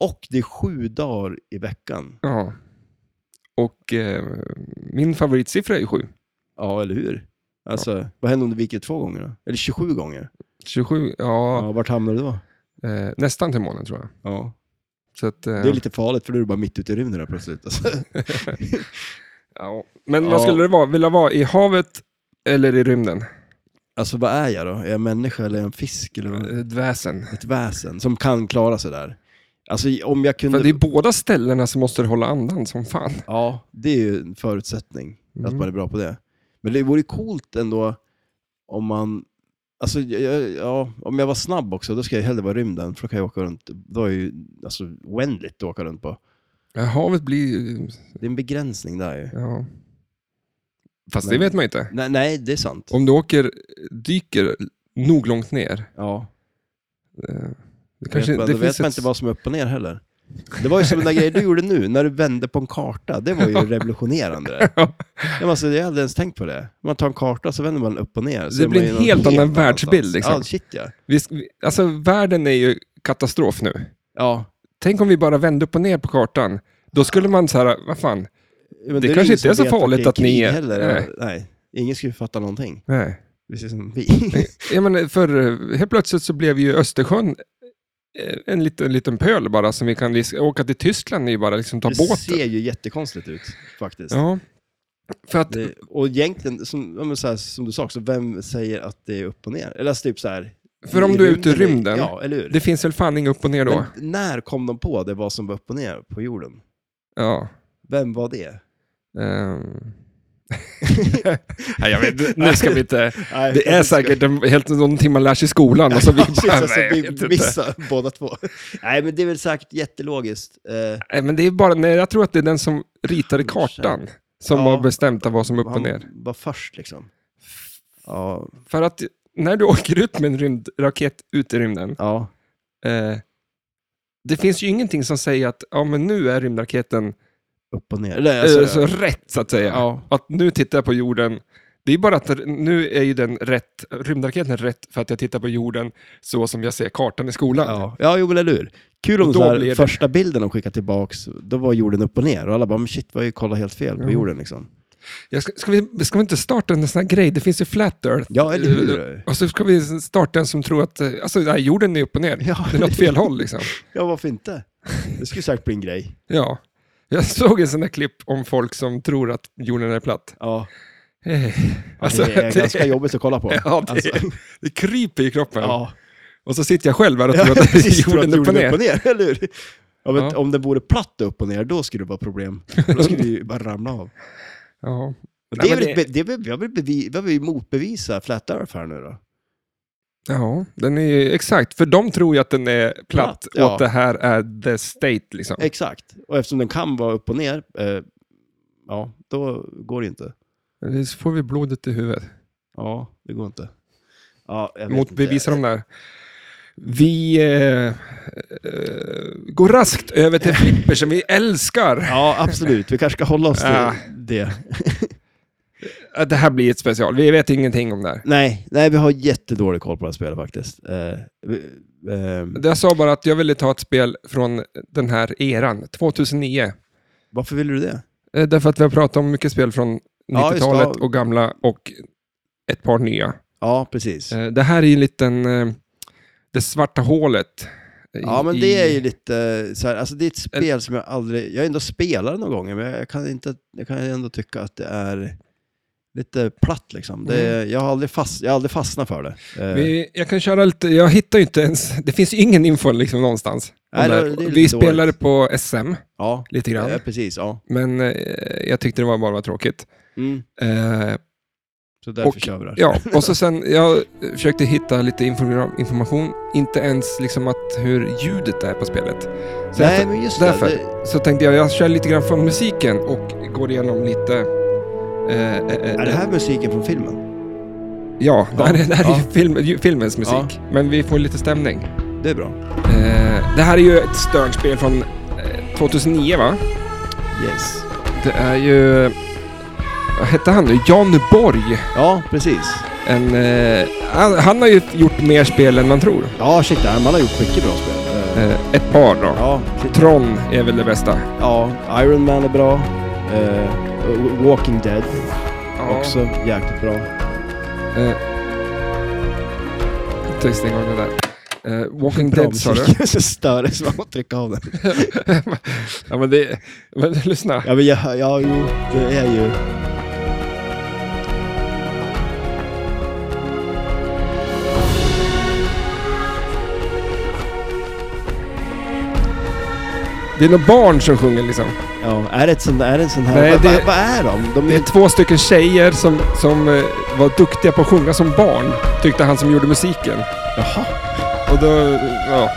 Och det är sju dagar i veckan. Ja. Och eh, min favoritsiffra är ju sju. Ja, eller hur? Alltså, vad händer om du viker två gånger då? Eller 27 gånger? 27, ja, Ja, vart hamnar du då? Eh, nästan till månen tror jag. Ja. Så att, eh, Det är lite farligt för då är du bara mitt ute i rymden här plötsligt. Alltså. ja. Men Ja. vad skulle det vara? vilja vara i havet eller i rymden? alltså vad är jag då? Är jag en människa eller är jag en fisk eller vad? Ett Eh, väsen. ett väsen som kan klara sig där? Alltså om jag kunde... För det är båda ställena så måste du hålla andan som fan. Ja, det är ju en förutsättning att Mm. man är bra på det. Men det vore coolt ändå om man... Alltså, jag- jag, ja, om jag var snabb också, då ska jag hellre vara i rymden, för då kan jag åka runt. Då är ju alltså, oändligt att åka runt på. Ja, Havet blir ju... Det är en begränsning där ju. Ja. Fast Men- det vet man ju inte. Nej, nej det är sant. Om du åker, dyker nog långt ner. Ja. eh, Det Kanske, kanske, vet man, det då vet finns man ett, inte vad som är upp och ner heller. Det var ju som den där grejen du gjorde nu, när du vände på en karta. Det var ju revolutionerande. Ja. Ja, men alltså, jag hade ens tänkt på det. Man tar en karta så vänder man upp och ner. så Det är blir man en ju någon helt annan världsbild, annanstans. liksom. Ja, shit ja. vi, sk- vi- alltså, världen är ju katastrof nu. ja. Tänk om vi bara vände upp och ner på kartan. Då skulle man så här, vad fan, Men Det är ju kanske ingen inte som är så vet farligt det att ni krig är- Heller. Nej. Nej. ingen skulle fatta någonting. nej. Precis som vi. eh, Jag menar, för eh, helt plötsligt så blev ju Östersjön eh, en liten, liten pöl bara som vi kan lis- åka till Tyskland i bara, liksom ta det båten. ser ju jättekonstigt ut faktiskt. Ja. För att, Det, och egentligen, som, ja, men så här, som du sa också, vem säger att det är upp och ner? Eller alltså typ så här... För om i du är ute i rymden, Ja, eller hur? det finns väl fan inget upp och ner då? Men när kom de på det, vad som var upp och ner på jorden? Ja. Vem var det? ehm. Nej, jag vet, nu ska vi inte... Nej, Det är säkert en, helt någonting man lär sig i skolan. Och så vi Ja, bara, precis, alltså, nej, jag vet vi inte. missar båda två. Nej, men det är väl säkert jättelogiskt. Eh, Nej, men det är bara, nej, jag tror att det är den som ritade kartan som Ja. har bestämt vad som är upp och han ner. var först liksom. Ja, För att när du åker ut med en rymdraket ut i rymden, ja. eh, det finns ju ingenting som säger att ja, men nu är rymdraketen upp och ner. Eller, eh, alltså, så rätt, så att säga. Ja. Att nu tittar jag på jorden. Det är bara att nu är ju den rätt, rymdraketen är rätt för att jag tittar på jorden så som jag ser kartan i skolan. Ja, ja jo, men eller hur. Kul om Och då så här, blir det- första bilden de skickade tillbaks, då var jorden upp och ner. Och alla bara, men shit, vi har ju kollat helt fel på Ja. jorden liksom. Jag ska, ska, vi, ska vi inte starta en sån här grej? Det finns ju Flat Earth. Eh, Ja, eller hur? Och så ska vi starta en som tror att eh, alltså, nej, jorden är upp och ner. Ja. Det är något fel håll liksom. Ja, varför inte? Det skulle säkert bli en grej. Ja. Jag såg en sån där klipp om folk som tror att jorden är platt. Ja, Eh, alltså, det är ganska jobbigt att kolla på. Ja, det, Alltså, det kryper i kroppen. ja. Och så sitter jag själv här och Ja, tror att precis, tror jorden är upp och ner. ner. Eller hur? Ja, men Ja. Om den vore platt upp och ner, då skulle det vara problem. Då skulle det ju bara ramla av. Ja. Och Nej, Det är men väl, det- ett be- det är väl, vi har väl bevi- vi har väl motbevisa Flat Earth här nu då? ja, den är ju exakt. För de tror ju att den är platt, Platt, ja. och att det här är the state liksom. Exakt. Och eftersom den kan vara upp och ner, eh, ja, då går det inte. Eller Så får vi blodet i huvudet. Ja, det går inte. Ja, jag vet motbevisa inte. de där. Vi eh, eh, går raskt över till flipper som vi älskar. Ja, absolut. Vi kanske ska hålla oss till Ja. det. Eh, Det här blir ett special. Vi vet ingenting om det här. Nej, nej, vi har jättedålig koll på det här spelet faktiskt. Eh, vi- ehm, Jag sa bara att jag ville ta ett spel från den här eran, 2009. varför ville du det? Eh, Därför att vi har pratat om mycket spel från Ja, just det. 90-talet och gamla och ett par nya. Ja, precis. Eh, Det här är ju en liten... eh, Det svarta hålet. i- Ja, men det är i- ju lite så här, alltså det är ett spel som jag aldrig, jag har ändå spelat någon gång, men jag kan, inte, jag kan ändå tycka att det är lite platt liksom. Det, jag, har aldrig fast, jag har aldrig fastnat för det. Eh, Mm. Vi, jag kan köra lite, jag hittar ju inte ens, det finns ju ingen info liksom någonstans. om Nej, det här. det är lite vi dåligt. spelade på SM ja, lite grann, eh, precis. Ja. men eh, jag tyckte det var bara var tråkigt. Mm. Eh, Så därför Och- kör vi det här. ja, och så sen, jag försökte hitta lite inform- information, inte ens liksom att hur ljudet är på spelet. Så, Nej, efter- men just därför. det. det så tänkte jag, jag kör lite grann från musiken och går igenom lite... eh, eh, eh, är det här musiken från filmen? Ja, det här, är- det här är ju Ja. film, ju filmens musik, men vi får lite stämning. Det är bra. Eh, det här är ju ett Stern-spel från eh, 2009 va? Yes. Det är ju... Vad hette han nu? Jan Borg. Ja, precis. En, eh, han, han har ju gjort mer spel än man tror. Ja, shit, det här, man har gjort mycket bra spel. Eh, Eh, ett par då. Ja, shit, Tron är väl det bästa. ja, Iron Man är bra. Eh, Walking Dead också jäkligt bra. Eh, jag stänger av det där. Eh, Walking Bra Dead sa du? musik. Så stör det så man får trycka av den. ja men det... Men, lyssna. Ja, men jag, ja, jo, det är ju... Det är några barn som sjunger liksom. Ja, är det, ett sånt, är det en sån här... Nej, vad, det- vad, vad är de? de Det är är, två stycken tjejer som, som eh, var duktiga på att sjunga som barn, tyckte han som gjorde musiken. jaha. Och då, ja.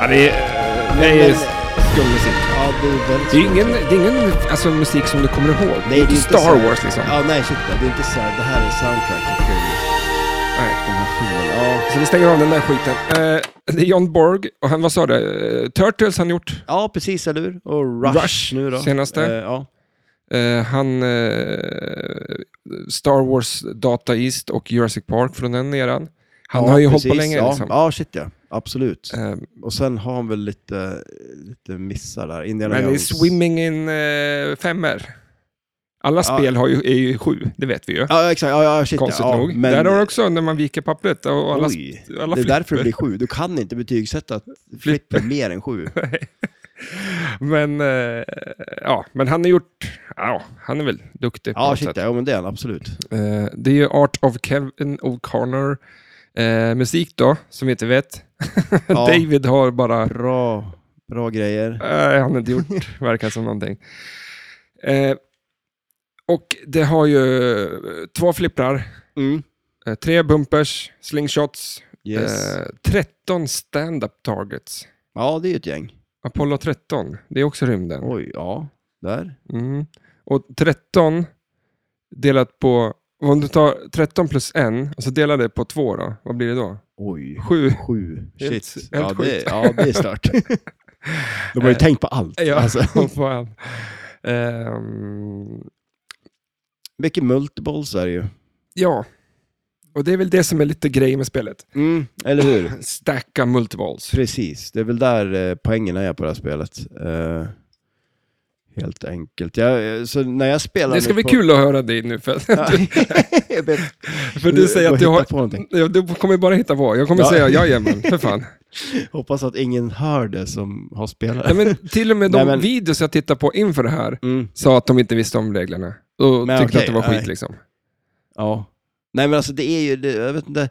ja det är, eh, det är Men- skum musik. Ja, det är väldigt Det är ju ingen, det är ingen alltså, musik som du kommer ihåg. Nej, det är inte så Star här- Wars liksom. Ja, nej, shit. Det är inte så här, det här är soundtracket till Nej. den här filmen. Ja, Så vi stänger av den där skiten. Eh, det är John Borg och han, vad sa du? Eh, Turtles han gjort. ja precis, eller hur? Och Rush, Rush, nu då. senaste. Eh, ja. Eh, han... Eh, Star Wars, Data East och Jurassic Park från den eran. Han ja, har ju precis, hållit på länge ja. liksom. Ja, shit ja. Absolut. Eh, Och sen har han väl lite, lite missar där. Indiana Men det är Jones. swimming in eh, femmer. Alla Ja. spel har ju, är ju sju, det vet vi ju. Ja, exakt. Ja, ja, shit, Konstigt ja, nog. Men, Där har du också när man viker pappret och alla, oj, alla det är därför det flipper. blir sju. Du kan inte betygsätta flipper mer än sju. Men, eh, ja, men han har gjort... Ja, han är väl duktig på Ja, något shit, sätt. ja, men det är han absolut. Eh, det är ju Art of Kevin O'Connor. Eh, musik då, som vi inte vet. Ja. David har bara... Bra, bra grejer. Nej, han Eh, har inte gjort, verkar som någonting. Eh, och det har ju eh, två flipprar, Mm. eh, tre bumpers, slingshots, Yes. eh, 13 stand-up targets. Ja, det är ju ett gäng. Apollo 13, det är också rymden. Oj, ja. Där. Mm. Och 13 delat på, om du tar 13 plus 1 och så delar det på 2 då, vad blir det då? Oj. 7. Sju. Helt- Shit. helt ja, det, sjukt. ja, det är stört. De har ju Eh, tänkt på allt. Ja, Alltså, fan. Ehm, mycket multiballs är det ju. ja, och det är väl det som är lite grejen med spelet. Mm, eller hur? Stacka multiballs. Precis, det är väl där eh, poängen är på det här spelet. Eh, helt enkelt. Jag, eh, så när jag spelar Det ska nu bli på... kul att höra dig nu, för, Ja, jag vet, för du säger går att du hitta har... På någonting. Ja, Du kommer bara hitta på. Jag kommer Ja. säga jajamän, för fan. Hoppas att ingen hör det som har spelat. Nej, men till och med de Nej, men- videos jag tittar på inför det här Mm, sa att de inte visste om reglerna och Men tyckte okej, att det var skit nej. liksom. ja. Nej men alltså det är ju, det, jag vet inte,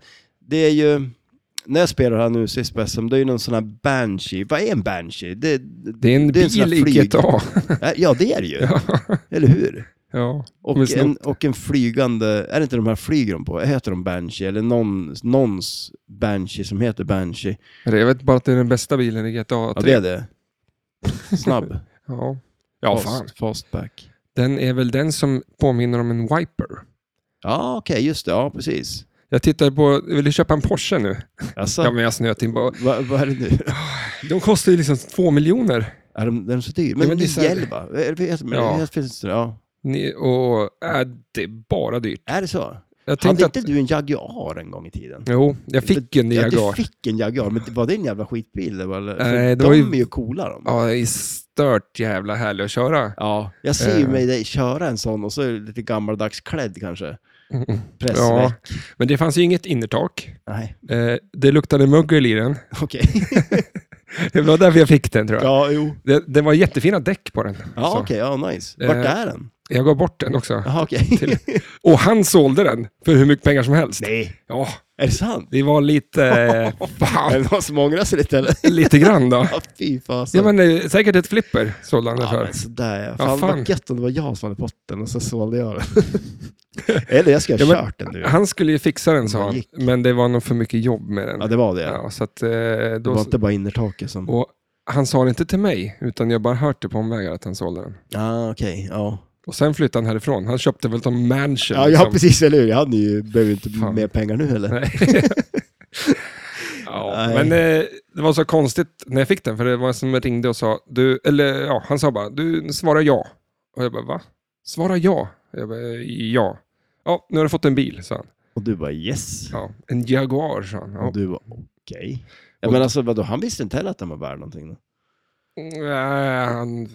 det är ju... När jag spelar här nu sist på SM, det är ju någon sån här Banshee. Vad är en Banshee? Det, Det är en Det är en sån här bil i flyg. GTA. ja, det är det ju. ja. Eller hur? ja. Men Och snabbt. en, och en flygande, är det inte de här flyger de på? Heter de Banshee? Eller någon, någons Banshee som heter Banshee? Men Jag vet bara att det är den bästa bilen i GTA 3. Ja, det är det. Snabb. typ. Ja, ja Fast- fan. Fastback. Den är väl den som påminner om en wiper. Ja, okej, just det. Ja, precis. Jag tittar på, vill du köpa en Porsche nu? Alltså, Ja, men jag snöt in på. vad, vad är det nu? De kostar ju liksom två miljoner. Är de, är de så dyra? Ja, men Men, men det är det så är här- hjälp, va? Är det- heter- men Ja. det finns det- ja. Ni, och, äh, det är bara dyrt. Är det så? Jag Hade tänkte inte du en Jaguar en gång i tiden? att, jo, jag fick en Ja, du Jaguar. fick en Jaguar, men var det en jävla skitbil? eller vad? För Nej, det de var ju- är ju coola de. Ja, det är stört jävla härlig att köra. Ja, jag ser ju Eh. mig dig köra en sån och så är du lite gammaldags klädd kanske. Mm. Ja, Pressväck. men det fanns ju inget innertak. Nej, Eh, det luktade mögel i den. okej. Det var därför jag fick den tror jag. ja, jo. Det, det var jättefina däck på den. Ja, Så. okej. ja, nice. Vart Eh. är den? Jag gav bort den också. Jaha, okej. Till- Och han sålde den för hur mycket pengar som helst. Nej. Ja, Är det sant? det var lite... eh, Är fan, det någon som ångrar sig lite eller? lite grann då. Ja, fy fasen. Ja, men, eh, säkert ett flipper sålde han den Ja, för. men sådär ja. Ja, Fan, fan. vad gött om det var jag som hade fått den och så sålde jag den. eller jag ska ha Ja, men- kört den nu. Han skulle ju fixa den sa Vad han, gick? men det var nog för mycket jobb med Ja, den. det var det. Ja, så att, eh, Det var då, inte bara innertaket som... och han sa det inte till mig, utan jag bara hört det på omvägar att han sålde den. Ja, okej. Ja. Och sen flyttade han härifrån. Han köpte väl en mansion. Ja, ja, liksom. precis. Eller hur? Jag hade ju, behöver ju inte Fan. mer pengar nu heller. Nej. ja, Nej. men eh, det var så konstigt när jag fick den, för det var en som ringde och sa, du, eller ja, han sa bara, du svarar ja. Och jag bara, va? Svara ja? Jag bara, "Eh, ja. Ja, nu har du fått en bil, sa han. Och du bara yes. Ja, en Jaguar, sa han. Ja. Och du var okej. Ja, Och- men alltså vadå, han visste inte heller att den var värd någonting då? mm, Nej, han eh,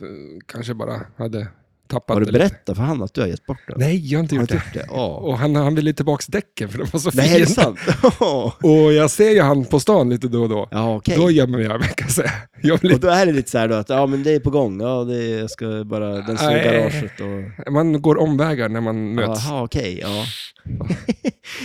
kanske bara hade tappat Har du det berättat för han att du har gett bort den? lite. Nej, jag har inte har gjort du det. gjort det? Ja. Och han, han ville tillbaka däcken, för de var så Nej, är det fina. sant? Ja, Och jag ser ju han på stan lite då och då. Ja, okej. Då gömmer jag mig, kan jag säga. Jag blir Och då är det lite så här då att, ja men det är på gång, ja det är, jag ska bara, den står i Nej. garaget och... Man går omvägar när man möts. Jaha, okej, ja.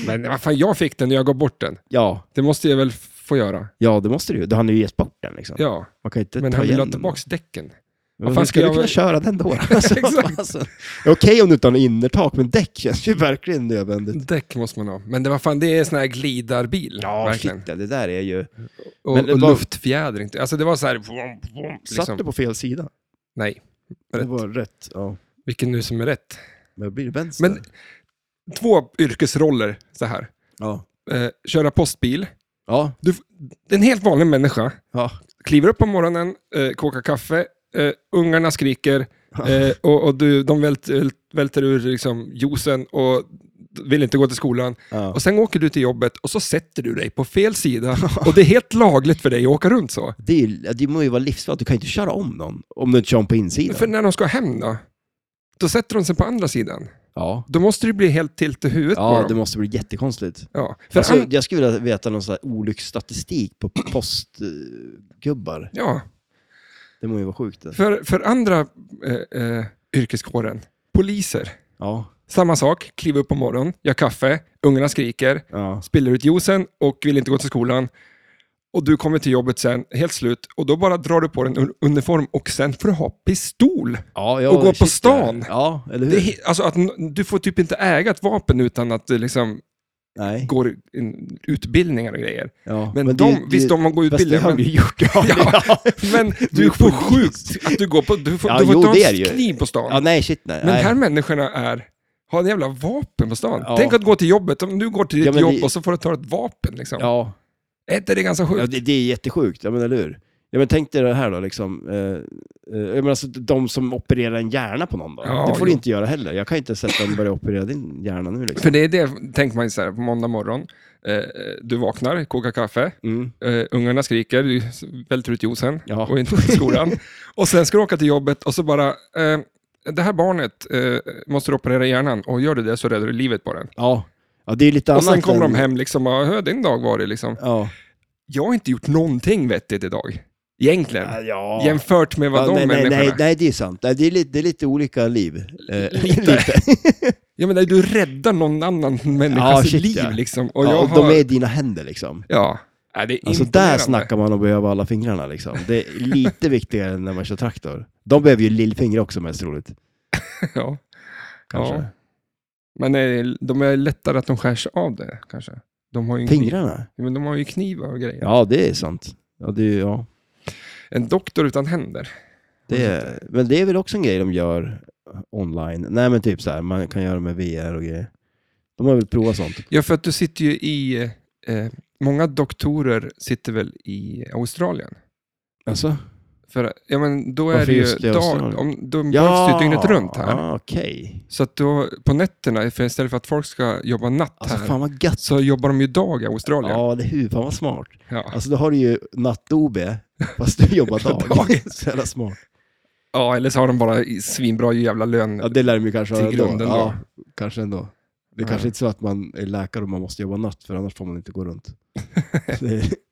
Men vad fan, jag fick den och jag gav bort den. ja. Det måste jag väl f- få göra? Ja, det måste du ju. Då har ni ju gett bort den liksom. Ja, Man kan ju inte men ta han vill ha igen den. tillbaka däcken. Men Vad hur fan ska ska du jag- kunna köra den då? Alltså, Exakt. alltså. Det är Okej om du inte har något innertak, men däck känns ju verkligen nödvändigt. Däck måste man ha. Men det var fan, det är en sån här glidarbil. Ja, shit, verkligen. ja, det där är ju... Och, Men det och var- luftfjäder inte. Alltså det var så här... Vom, vom, Satt liksom. du på fel sida? Nej, Det Rätt. var rätt, ja. vilken nu som är rätt. Men det blir vänster. Men två yrkesroller så här. ja. Eh, köra postbil. Ja. Du, f- en helt vanlig människa ja. kliver upp på morgonen, eh, kokar kaffe, eh, ungarna skriker eh, och, och du, de välter, välter ur liksom, juicen och vill inte gå till skolan. ja. Och sen åker du till jobbet och så sätter du dig på fel sida och det är helt lagligt för dig att åka runt så. Det, är, ju- det må ju vara livsfarligt, du kan ju inte köra om någon om du inte kör om på insidan. För när de ska hem då? Då sätter de sig på andra sidan. Ja. Då måste det bli helt tilt i huvudet på Ja, dem. det måste bli jättekonstigt. Ja, för Alltså, an... jag skulle vilja veta någon sån här olycksstatistik på postgubbar. ja Det må ju vara sjukt. det. för, för andra eh, eh, yrkeskåren, poliser, Ja. samma sak, kliver upp på morgonen, gör kaffe, ungarna skriker, ja. spiller ut juicen och vill inte gå till skolan. Och du kommer till jobbet sen, helt slut, och då bara drar du på dig en un- uniform och sen får du ha pistol. ja, ja Och gå på shit, ja. stan. Ja, eller hur? Det är, he- alltså att, n- du får typ inte äga ett vapen utan att det liksom Nej. går in, utbildningar och grejer. Ja. Men, det är de, ju- det är ju- visst, de går Fast det utbildningar, har vi men, ju gjort. Ja, Ja. ja. men Du är du får polis. sjukt att du går på, du får, Ja, du får jo, det inte är ha det ju. en kniv på stan. ja, nej, shit nej. men nej. de här människorna är, har en jävla vapen på stan. Ja. Tänk att gå till jobbet, om du går till Ja, ditt men jobb det- och så får du ta ett vapen. Liksom. Ja, Är inte det ganska sjukt? ja det, det är jättesjukt. Ja, men eller hur? Ja, men tänk dig det här då, liksom. Eh, eh, jag menar, alltså, de som opererar en hjärna på någon då. Ja, det får du jo. inte göra heller. Jag kan inte sätta en börja operera din hjärna nu liksom. För det är det, tänker man ju så här, på måndag morgon, eh, du vaknar, kokar kaffe, Mm. eh, ungarna skriker, du välter ut juicen Ja. och är inte i skolan. och sen ska du åka till jobbet och så bara, eh, det här barnet eh, måste du operera hjärnan och gör du det så räddar du livet på den. Ja. ja, det är lite Och annat. sen kommer än- de hem liksom, och, hör din dag var det liksom. Ja. Jag har inte gjort någonting vettigt idag, egentligen. ja. Jämfört med vad ja, de nej, nej, människorna... nej, nej, det är sant. Nej, det, är lite, det är lite olika liv. Eh, lite. Ja, men nej, du räddar någon annan människas Ja, shit, liv ja. liksom. Och Och, jag ja, och har... de är i dina händer liksom. Ja. Nej, det är Alltså där imponerande. snackar man om att behöva alla fingrarna liksom. Det är lite viktigare än när man kör traktor. De behöver ju lillfingrar också mest roligt. Ja. Kanske. Ja. Men eh, de är lättare att de skär sig av det kanske. De har ju en kniv. Fingrarna? Ja, Men de har ju knivar och grejer. Ja, det är sant. Ja, det är, ja. En doktor utan händer. Det är, men det är väl också en grej de gör online. Nej men typ så här, man kan göra med VR och grejer. De har väl provat sånt. Ja, för att du sitter ju i... Eh, många doktorer sitter väl i Australien? Alltså? För ja, men då är Varför det ju... just i Australien? Dag, om, de behövs ju dygnet runt här. ah, okej. Så att då, på nätterna, för istället för att folk ska jobba natt Alltså här, fan vad gött. så jobbar de ju dag i Australien. Ja, det är hur, fan vad smart. Ja. Alltså då har du ju natt-OB, fast du jobbar dag. Så jävla smart. ja, eller så har de bara i- svinbra jävla lön. Ja, det lär de ju kanske Till ha ändå. grunden Ja, kanske ändå. Det är Ja. kanske inte så att man är läkare och man måste jobba natt, för annars får man inte gå runt. Det är-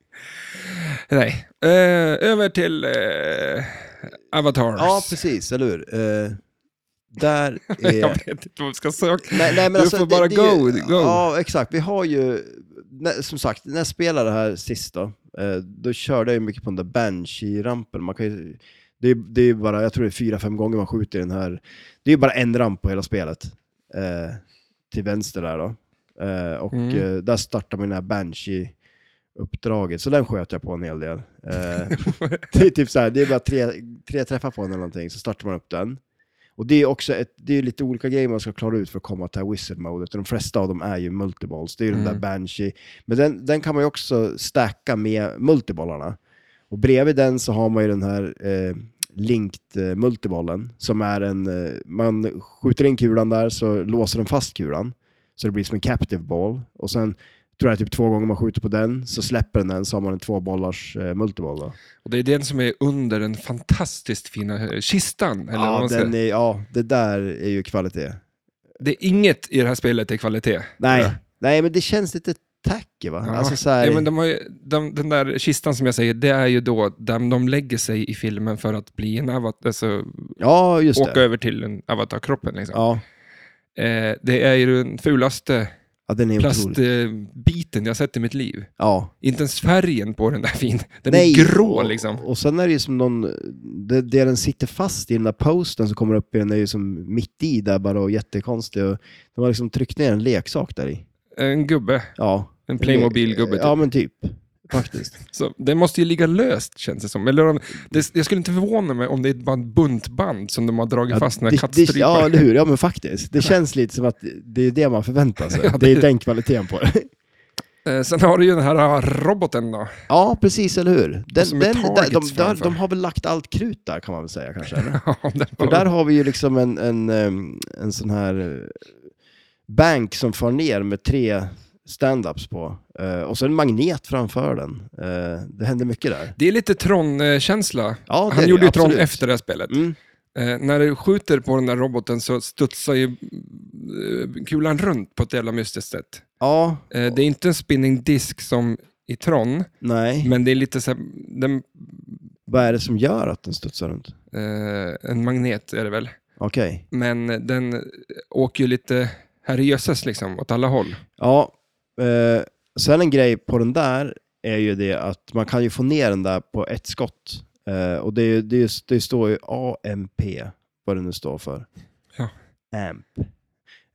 Nej. Eh, över till eh, Avatars. ja, precis, eller hur? Eh, där Jag är... vet inte vad vi ska söka. Nej, nej, men Du alltså, får det- bara det är ju- go, go. Ja, exakt. Vi har ju, nä- som sagt, när jag spelade det här sist då, eh, då körde jag ju mycket på den där Banshee-rampen. Man kan ju, det, är, det är ju bara, jag tror det är fyra, fem gånger man skjuter i den här. Det är ju bara en ramp på hela spelet. Eh, till vänster där då. Eh, och Mm. eh, där startar man den här Banshee uppdraget, så den sköt jag på en hel del. Eh, det är typ så här, det är bara tre, tre träffar på den eller någonting, så startar man upp den. Och det är också ett, det är lite olika grejer man ska klara ut för att komma till wizard-modet. De flesta av dem är ju multiballs, det är ju den Mm. där Banshee. Men den, den kan man ju också stacka med multibollarna. Och bredvid den så har man ju den här eh, linked eh, multibollen, som är en, eh, man skjuter in kulan där så låser den fast kulan. Så det blir som en captive ball. Och sen tror jag typ två gånger man skjuter på den så släpper den den så har man en tvåbollars eh, multiboll då. Och det är den som är under den fantastiskt fina eh, kistan. Eller vad ja, man den säger. är, ja, det där är ju kvalitet. Det är inget i det här spelet är kvalitet. Nej, Ja. nej men det känns lite tacky va? Ja. Alltså så här, Ja, men de har ju, de, den där kistan som jag säger, det är ju då där de lägger sig i filmen för att bli en avatar, alltså ja just åka det. över till en avatarkroppen. Liksom. Ja. Eh, det är ju den fulaste ja, den är otrolig. plastbiten jag sett i mitt liv. Ja. Inte ens färgen på den där fin. Den är grå liksom. Och, och sen är det ju som någon, det, det den sitter fast i den där posten som kommer upp i den är ju som mitt i där bara och jättekonstig. Och de har liksom tryckt ner en leksak där i. En gubbe, Ja. en Playmobil-gubbe. Typ. Ja men typ, faktiskt. Mm. Så den måste ju ligga löst känns det som. Eller om, det, jag skulle inte förvåna mig om det är ett band, buntband som de har dragit fast när det- det, kattstrypare. ja, eller hur? Ja, men faktiskt. Det känns lite som att det är det man förväntar sig. Ja, det är det- den kvaliteten på det. Eh, Sen har du ju den här ah, roboten då. Ja, precis, eller hur? Den, som den, är där, de, targets där, Alltså, framför. de har väl lagt allt krut där, kan man väl säga kanske. Eller? Ja, den För var- där har vi ju liksom en, en, ehm, en sån här eh, bank som far ner med tre stand-ups på. Eh, Och så en magnet framför den. Eh, Det händer mycket där. Det är lite Tron-känsla. Ja, det är Han det, gjorde ju Tron absolut. efter det här spelet. Mm. Eh, när du skjuter på den där roboten så studsar ju eh, kulan runt på ett jävla mystiskt sätt. Ja, Eh, det är inte en spinning disk som i Tron, nej. men det är lite så här, den, Vad är det som gör att den studsar runt? eh, en magnet är det väl. Okej. Men den åker ju lite herrejösses liksom åt alla håll. Ja. Eh, sen en grej på den där är ju det att man kan ju få ner den där på ett skott. Eh, och det, är ju- det, är ju- det står ju AMP, vad det nu står för. Ja. AMP.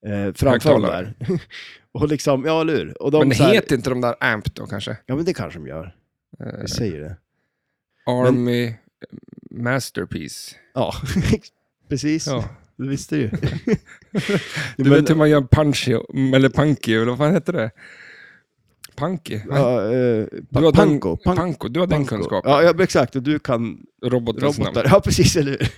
Eh, framför den Högtalare. där. och liksom, ja eller hur? Och de men det så här, heter inte de där AMP då kanske? Ja men det kanske de gör. Eh, Jag säger det. Army Masterpiece. Ja, precis. Ja. Du visste ju. Du Men- vet hur man gör punchio, eller punky, eller vad fan heter det? Punky? Ja, eh, Du har den- panko. pan- Panko, du har den panko. kunskapen. Ja, ja, exakt. Och du kan Robotens robotar. namn. Ja, precis, eller hur?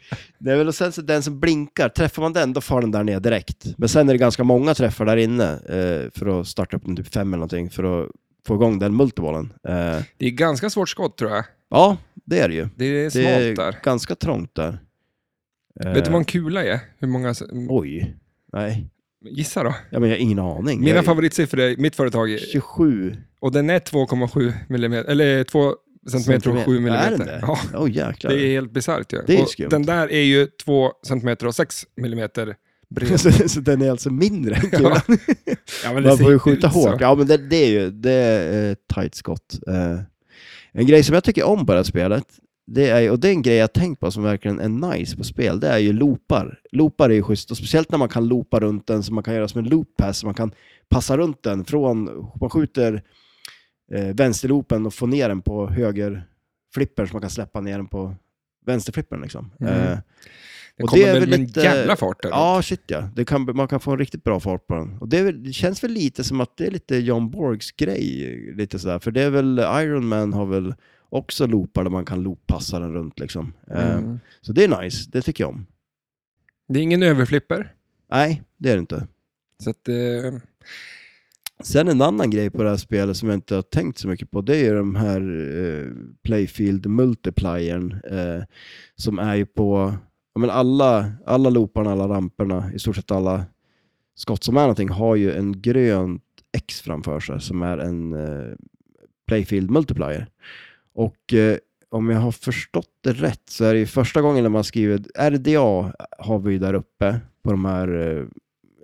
Det är väl och sen så den som blinkar, träffar man den då far den där ner direkt. Men sen är det ganska många träffar där inne eh, för att starta upp den typ fem eller någonting för att få igång den multibollen. Eh, Det är ganska svårt skott tror jag. ja, det är det ju. Det är Det eh. smalt är där. ganska trångt där. Eh, Vet du vad en kula är? Hur många... Oj. Nej, Gissa då. ja, men jag har ingen aning. Mina jag, favoritsiffror är mitt företag, är- 27 och den är 2,7 millimeter, eller 2 centimeter och 7 Är millimeter. den det? Ja, Åh jäklar. det är helt bisarrt ju. Det är Och skumt. Den där är ju 2 centimeter och 6 millimeter bred. så, så den är alltså mindre än kulan? Ja. Ja, men det Man ser får ju inte skjuta ut så. hårt. Ja, men det, det är ju det är ett tight skott. Eh, en grej som jag tycker om på det här spelet, det är, och det är en grej jag har tänkt på som verkligen är nice på spel, det är ju loopar. Loopar är ju schysst, och speciellt när man kan loopa runt den, så man kan göra som en loop pass, så man kan passa runt den från, man skjuter eh, vänsterloopen och får ner den på höger flipper så man kan släppa ner den på vänsterflippern liksom. Mm. Eh, Det Och kommer det är med, väl med lite- en jävla fart. där. Ja, shit ja. Det kan, man kan få en riktigt bra fart på den. Och det, är väl, det känns väl lite som att det är lite John Borgs grej, eh, lite sådär. För det är väl, Iron Man har väl också loopar där man kan looppassa den runt liksom. Eh, Mm. Så det är nice, det tycker jag om. Det är ingen överflipper. Nej, det är det inte. Så att, eh, Sen en annan grej på det här spelet som jag inte har tänkt så mycket på, det är ju de här eh, Playfield Multipliern eh, som är ju på ja, men alla, alla looparna, alla ramperna, i stort sett alla skott som är någonting har ju en grönt X framför sig som är en eh, Playfield Multiplier. Och eh, om jag har förstått det rätt så är det ju första gången när man skriver RDA har vi ju där uppe på de här eh,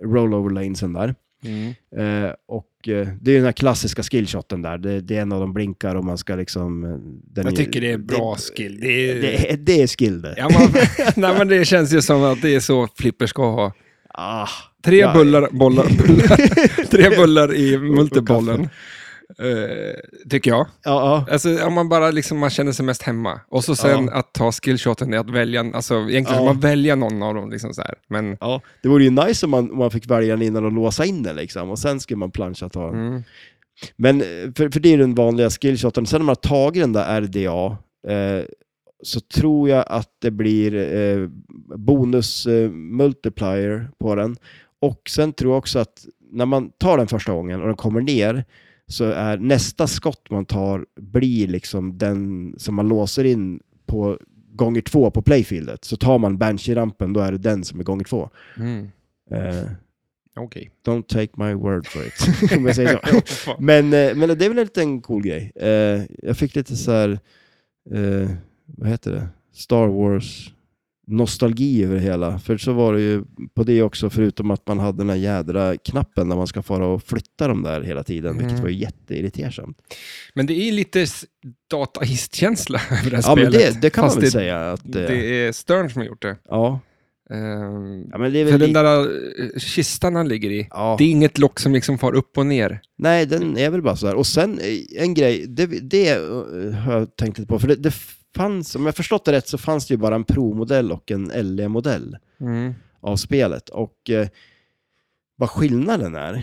rollover lanesen där. Mm. Eh, och eh, det är ju den här klassiska skillshoten där. Det, det är en av de blinkar och man ska liksom... eh, Den jag är- tycker det är bra skill. Det Det, är, det, är- det är skill det. Ja, man, nej, men det känns ju som att det är så flipper ska ha. Ah, Tre Ja. bullar, bollar, bullar, tre bullar i multibollen. Eh, tycker jag. ja, ja. Alltså om man bara liksom, man känner sig mest hemma. Och så sen Ja. att ta skillshoten är att välja, alltså egentligen Ja. ska man välja någon av dem liksom så här. Men, Ja, det vore ju nice om man, om man fick välja den innan och låsa in den liksom. Och sen skulle man plancha ta den. mm. Men eh, för, för det är den vanliga skillshoten. Sen när man har tagit den där RDA eh, så tror jag att det blir eh, bonus eh, multiplier på den. Och sen tror jag också att när man tar den första gången och den kommer ner så är nästa skott man tar blir liksom den som man låser in på gånger två på playfieldet. Så tar man banshee-rampen då är det den som är gånger två. Mm. Eh, Okej. don't take my word for it, om jag säger så. Men, eh, men det är väl en liten cool grej. Eh, jag fick lite så här, eh, vad heter det, Star Wars nostalgi över det hela. För så var det ju på det också, förutom att man hade den här jädra knappen där man ska fara och flytta dem där hela tiden, vilket Mm. var ju jätteirritersamt. Men det är lite s- dataistkänsla över det här Ja, men spelet. det, det kan Fast man väl det, säga. Att, eh, Det är Stern som har gjort det. ja. Ehm, ja, men det är för väl den lite, där eh, kistan han ligger i, ja. det är inget lock som liksom far upp och ner. Nej, den är väl bara sådär. Och sen eh, en grej, det, det eh, har jag tänkt lite på, för det, det fanns, om jag förstått det rätt, så fanns det ju bara en Pro-modell och en LE-modell. Mm. av spelet. Och eh, vad skillnaden är,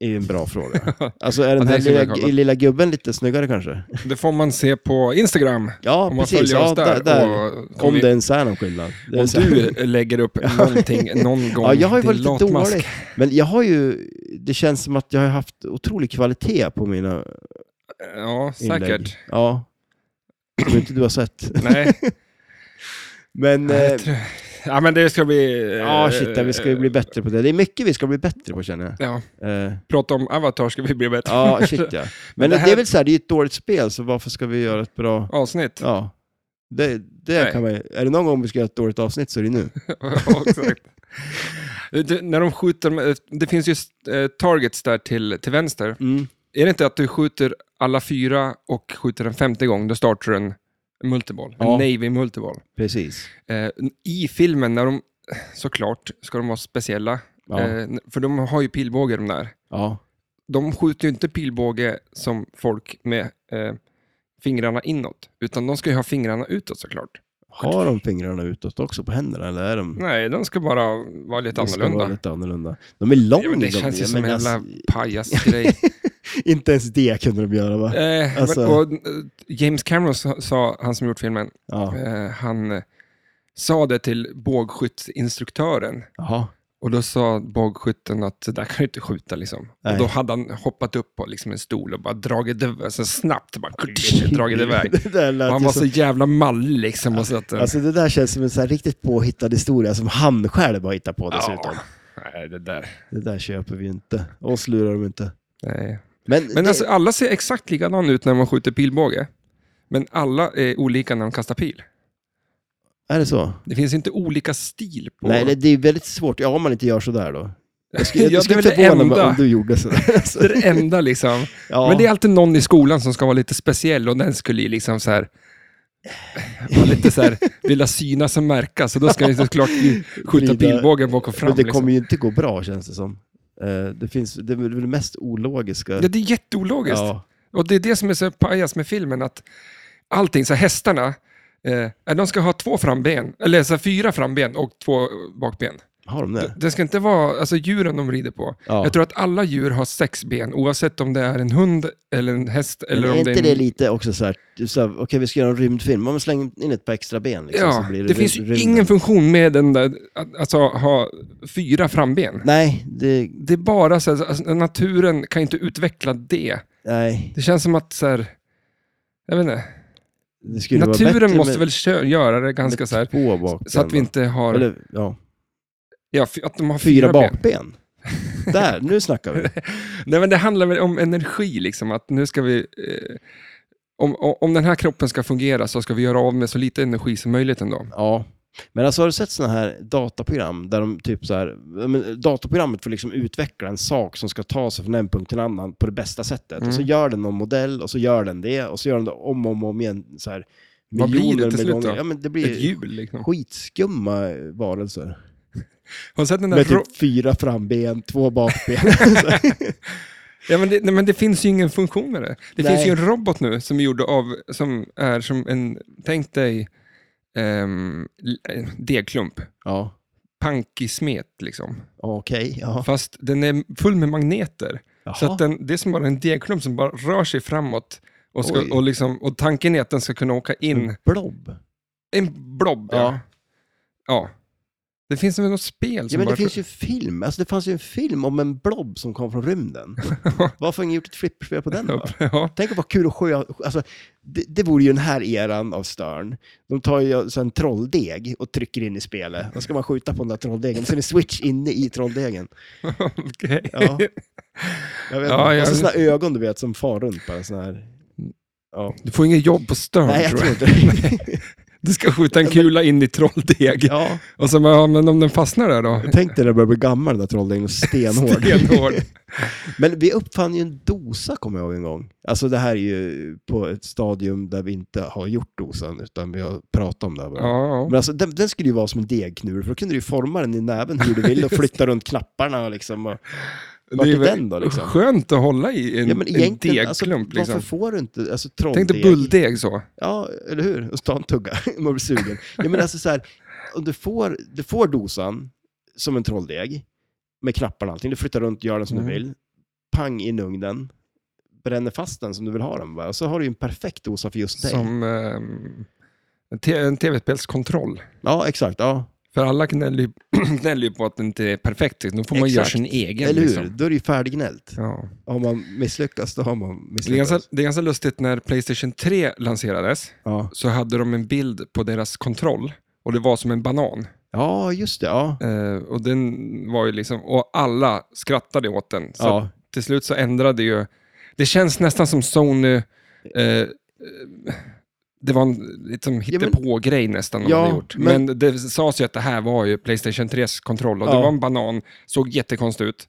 är ju en bra fråga. Alltså är den det här ska vi lilla, kolla. lilla gubben lite snyggare kanske? Det får man se på Instagram. Ja, Om man precis. följer Ja, oss där. där, där. Och, Om om, det ens är någon skillnad. Det är om så här- du lägger upp någonting någon gång. Ja, jag har ju din varit lite latmask. dålig. Men jag har ju, det känns som att jag har haft otrolig kvalitet på mina Ja, inlägg. säkert. Ja. Som inte du har sett. Nej. Men... Nej, Eh, jag tror- Ja, men det ska bli... eh, ja, shit, ja, vi ska ju bli bättre på det. Det är mycket vi ska bli bättre på känner jag. Ja, Eh, prata om Avatar ska vi bli bättre ja, shit ja. Men det det, här- är väl så här, det är ju ett dåligt spel, så varför ska vi göra ett bra... avsnitt. Ja. Det, det Nej. kan man, ju- är det någon gång vi ska göra ett dåligt avsnitt så är det nu. Exakt. Du, När de skjuter, de- det finns ju eh, targets där till, till vänster. Mm. Är det inte att du skjuter alla fyra och skjuter den femte gång, då startar du en multiboll, en Ja. Navy multiboll. Precis. Eh, I filmen, när de, såklart, ska de vara speciella, Ja. eh, för de har ju pilbåge de där. Ja. De skjuter ju inte pilbåge som folk med eh, fingrarna inåt, utan de ska ju ha fingrarna utåt såklart. Har de fingrarna utåt också på händerna eller är de... Nej, de ska bara vara lite de ska annorlunda. vara lite annorlunda. De är långa. Ja, men det de, känns ju jag som en menar, jävla alltså, pajasgrej. Inte ens det kunde de göra va? eh, Alltså- men- och, eh, James Cameron sa- sa, han som gjort filmen, Ja. eh, han eh, sa det till bågskyttsinstruktören. Jaha. Och då sa bågskytten att det där kan du inte skjuta liksom. Och Nej. då hade han hoppat upp på liksom en stol och bara dragit iväg, så snabbt bara dragit iväg. det där Och lät han ju var som- så jävla mallig liksom. Och så att, eh, Alltså det där känns som en så här riktigt påhittad historia som han själv har hittat på dessutom. ja, nej, det där. Det där köper vi inte. Oss lurar de inte. Nej. Men, Men det, alltså, alla ser exakt likadana ut när man skjuter pilbåge. Men alla är olika när de kastar pil. är det så? Det finns inte olika stil på... Nej, det, det är väldigt svårt. Ja, om man inte gör sådär då. Jag skulle, Ja, jag, det är skulle väl det förvåna mig enda. om du gjorde sådär. Alltså, Det är det enda liksom. ja. Men det är alltid någon i skolan som ska vara lite speciell och den skulle ju liksom så här vara lite så här, vilja synas och märkas. Så då ska jag ju såklart ju skjuta Vrida- pilbågen bak och fram. Men det liksom. kommer ju inte gå bra känns det som. Eh, Det, finns, det är väl det mest ologiska. liksom. ja, det är jätteologiskt. Ja. Och det är det som är så pajas med filmen, att allting, så här, hästarna, eh, de ska ha två framben, eller så här, fyra framben och två bakben. Har de det? Det ska inte vara, alltså djuren de rider på. Ja. Jag tror att alla djur har sex ben, oavsett om det är en hund eller en häst. Eller Men om är det inte är det, en... lite också så här, typ så här okej vi ska göra en rymdfilm, men släng in ett par extra ben. Liksom, Ja, så blir det, det, rym- finns ju rymden. ingen funktion med den där, att- alltså ha fyra framben. Nej, det, Det är bara så här, alltså, naturen kan inte utveckla det. nej, Det känns som att så här, jag vet inte, det skulle vara naturen bättre måste med, väl kö- göra det ganska med så här, två bakben, så att vi va? inte har, Eller, ja, ja, fy- att de har fyra, fyra ben. bakben. Där, nu snackar vi. Nej, men det handlar väl om energi, liksom, att nu ska vi, eh, om, om om den här kroppen ska fungera så ska vi göra av med så lite energi som möjligt ändå. Ja. Men alltså har du sett sådana här dataprogram där de typ så här, ja, men dataprogrammet får liksom utveckla en sak som ska ta sig från en punkt till en annan på det bästa sättet. Mm. Och så gör den någon modell och så gör den det och så gör den det om och om, och om igen så här Vad blir det miljoner till med slut gånger. då? Ja, men det Ett blir hjul, liksom. skitskumma varelser. Har du sett den där Med fro- typ fyra framben, två bakben. Ja, men det, nej, men det finns ju ingen funktion med det. Det Nej. finns ju en robot nu som är gjord av, som är som en, tänk dig, um, degklump. ja, Pankig smet liksom. okej. ja. Fast den är full med magneter. Så Jaha. att den, det är som bara en degklump som bara rör sig framåt. Och, Oj. ska, och, liksom, och tanken är att den ska kunna åka in. En blob. En blob, ja. ja. Ja. Det finns väl något spel som Ja, men bara... det finns ju film. Alltså det fanns ju en film om en blob som kom från rymden. Varför har ingen gjort ett flipperspel på den då? ja. Tänk vad kul att sjö... Alltså, det, det vore ju den här eran av Stern. De tar ju så en trolldeg och trycker in i spelet. Då ska man skjuta på den där trolldegen. Sen är det switch inne i trolldegen. Okej. Ja. Jag vet Ja, inte. jag- Och så såna ögon du vet som far runt bara såna här. Ja. Du får inget jobb på Stern, Nej, jag tror jag. tror inte det. Du ska skjuta en kula in i trolldeg. ja. Och så, bara, ja, men om den fastnar där då? Tänk dig när du börjar bli gammal den där trolldegen och stenhård. Stenhård. Men vi uppfann ju en dosa, kommer jag ihåg en gång. Alltså det här är ju på ett stadium där vi inte har gjort dosan, utan vi har pratat om det här bara. Ja, Men alltså, den, den skulle ju vara som en degknur, för då kunde du ju forma den i näven hur du ville och flytta runt knapparna. och Liksom, och, vart är väl den då, liksom? Skönt att hålla i en, ja, men en egentligen, degklump. alltså, liksom. varför får du inte alltså, Tänk dig trolldeg? bulldeg så. Ja, eller hur? Och så ta en tugga, man blir sugen. Ja, men alltså så här, om du får, du får dosan som en trolldeg, med knappar och allting, du flyttar runt, gör den som Mm. du vill, pang in i ugnen, bränner fast den som du vill ha den, va? och så har du ju en perfekt dosa för just dig. Som ehm, en te- en tv-spelskontroll. Ja, exakt. Ja. För alla gnäller ju- gnäller ju på att den inte är perfekt. typ. Då får man göra Exakt. sin egen. Eller hur? Liksom. Då är det ju färdignällt. Ja. Har man misslyckats, då har man Det, är ganska, misslyckats. det är ganska lustigt, när Playstation 3 lanserades Ja. så hade de en bild på deras kontroll. Och det var som en banan. Ja, just det. Ja. Eh, och den var ju liksom, och alla skrattade åt den. Så ja. till slut så ändrade ju... Det känns nästan som Sony... Eh, eh, det var en liksom, Ja, men- hittepå-grej nästan. de Ja, hade gjort. Men... men- det sades ju att det här var ju Playstation 3s kontroll och det Ja. var en banan, såg jättekonstigt ut.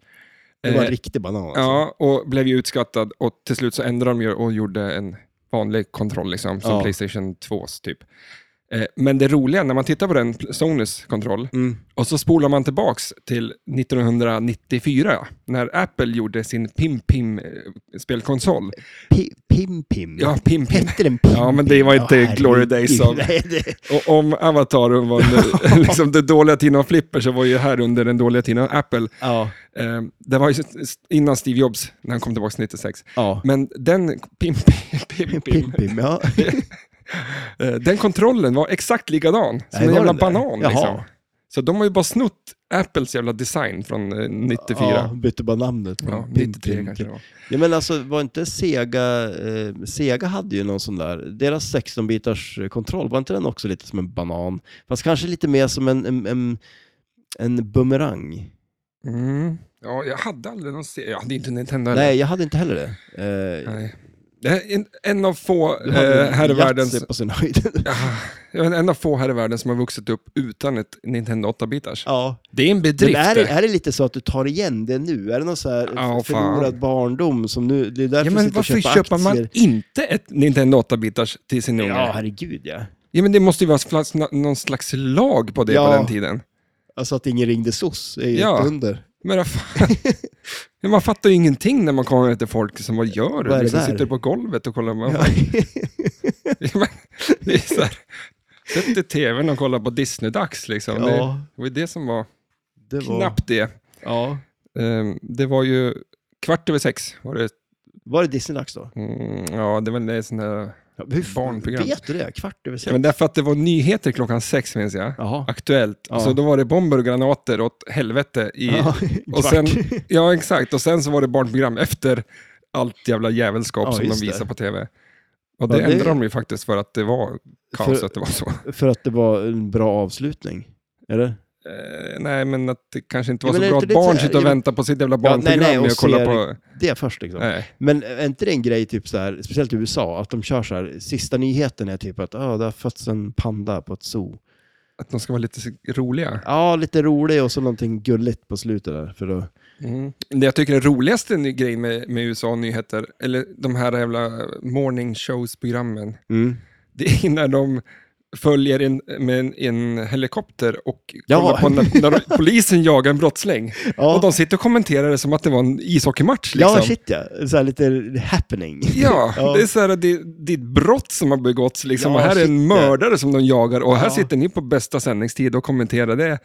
Det var Eh, en riktig banan. Alltså. Ja, och blev ju utskattad och till slut så ändrade de ju och gjorde en vanlig kontroll, liksom, som Ja. Playstation 2s typ. Eh, Men det roliga, när man tittar på den, Sonys kontroll, Mm. och så spolar man tillbaks till 1994, när Apple gjorde sin Pim-Pim-spelkonsol. Pi- Pim Pim. Ja, Pim-Pim. Hette den Pim? Ja, men det var Pim? inte Ja, Glory herregud. Days av- Nej, det... Och om Avatar var en, liksom det dåliga tiden av Flipper, så var ju här under den dåliga tiden av Apple. Ja, Eh, Det var ju innan Steve Jobs, när han kom tillbaks 96. ja. Men den Pim-Pim, Pim Pim, ja. Eh, Den kontrollen var exakt likadan, som Nej, en var jävla den där? banan. Jaha. Liksom. Så de har ju bara snott Apples jävla design från eh, 94. ja, Ja. bytte bara namnet. från Pim 93 Pim kanske till- det var. Ja, men alltså var inte Sega, eh, Sega hade ju någon sån där, deras 16-bitars eh, kontroll, var inte den också lite som en banan? Fast kanske lite mer som en, en, en, en bumerang. Mm. Ja, jag hade aldrig någon serie. Jag hade inte Nintendo heller. Nej, jag hade inte heller det. Eh, Nej. Det här är en, en av få du hade eh, här i Yatzy världen... på sin höjd. Ah, jag vet, en av få här i världen som har vuxit upp utan ett Nintendo 8-bitars. ja. Det är en bedrift. Men är, det. det, är det lite så att du tar igen det nu? Är det någon så här Ja, förlorad barndom som nu, det är därför ja, du men sitter och varför köper köper man aktier? inte ett Nintendo 8-bitars till sin unge? Ja, Ja. herregud ja. men det måste ju vara slags- någon slags lag på det på Ja. den tiden. Alltså att ingen ringde SOS är ju Ja. ett under. Men vad fan? Men man fattar ju ingenting när man kommer till folk som vad gör Vad du? är Liksom det där? sitter på golvet och kollar. Man, Ja. det är så här, sätt dig i tvn och kolla på Disney-dags. Liksom. Det, det ja, var ju det som var det var... knappt det. Ja. Ehm, Det var ju kvart över sex. Var det, Var det Disneydags då? mm, ja, det var en sån här... Ja, hur f- Barnprogram. Vet du det? Kvart över Ja, sex? men därför att det var nyheter klockan sex, minns jag. Jaha. Aktuellt. Ja. Så då var det bomber och granater åt helvete i Ja, Och kvart. sen, ja, exakt. Och sen så var det barnprogram efter allt jävla jävelskap Ja, som de just det. visar på tv. Och det, Ja, det- ändrade de ju faktiskt för att det var kaos För- att det var så. För att det var en bra avslutning. Eller? Eh, nej, men att det kanske inte Ja, var men så är bra att det inte lite barn så här- sitter och ja, men- väntar på sitt jävla nej, nej, barnprogram och med att kolla ser- på... Det först liksom. Nej. Men är inte det en grej, typ så här, speciellt i USA, att de kör så här, sista nyheten är typ att ah, det har fötts en panda på ett zoo. Att de ska vara lite roliga. Ja, lite rolig och så någonting gulligt på slutet där. För då... Mm. Det jag tycker är roligaste ny- grejen med, med USA-nyheter, eller de här jävla morning shows-programmen, det är när de följer en, med en, en helikopter och Ja. kollar på när, när de- polisen jagar en brottsling. Ja, Och de sitter och kommenterar det som att det var en ishockeymatch. Liksom. ja, shit ja. Så här lite happening. Ja, Ja. det är så här, det, det är ett brott som har begåtts. Liksom. Ja, och här är en shit, mördare som de jagar och här Ja. sitter ni på bästa sändningstid och kommenterar det.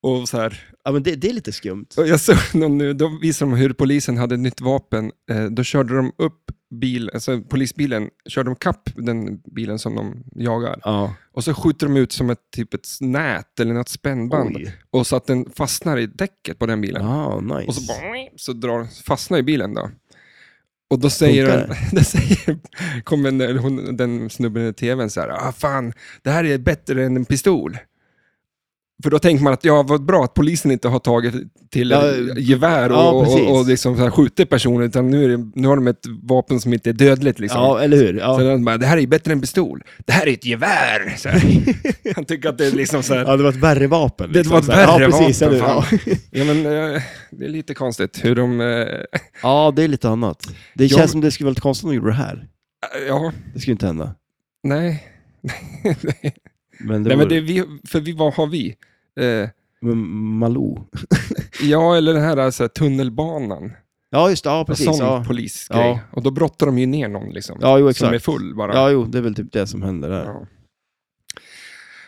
Och så här, Ja, men det, det är lite skumt. och jag såg någon nu, då visade de hur polisen hade ett nytt vapen. Eh, då körde de upp bil, alltså polisbilen, körde de kapp den bilen som de jagar. Ja. Och så skjuter de ut som ett, typ ett nät eller något spännband. Oj. Och så att den fastnar i däcket på den bilen. Ja, nice. Och så, bara, så drar, fastnar i bilen då. Och då säger, Funkar en, det säger kom en, eller hon, den snubben i tvn så här, ah, fan, det här är bättre än en pistol. För då tänker man att ja, vad bra att polisen inte har tagit till Ja, eh, gevär och, ja, precis. och, och liksom så här skjutit personer, utan nu, är det, nu har de ett vapen som inte är dödligt. Liksom. Ja, eller hur? Så Ja. den bara, det här är ju bättre än pistol. Det här är ett gevär! Så här. Han tycker att det är liksom så här, ja, det var ett värre vapen. Det liksom. var ett Så här, värre ja, precis, vapen, eller hur? fan. Ja. ja, men, eh, det är lite konstigt hur de... eh, ja, det är lite annat. Det Ja, känns men- som det skulle vara lite konstigt om de gjorde det här. ja, Det skulle inte hända. Nej. Nej, Men det Nej var... men det är vi, för vi, vad har vi? Eh, Men Malou. ja, eller den här alltså, tunnelbanan. Ja, just det. Ja, precis. en sån Ja. polisgrej. Ja. Och då brottar de ju ner någon liksom. ja, jo, som är exakt. full bara. Ja, jo, det är väl typ det som händer där. Ja.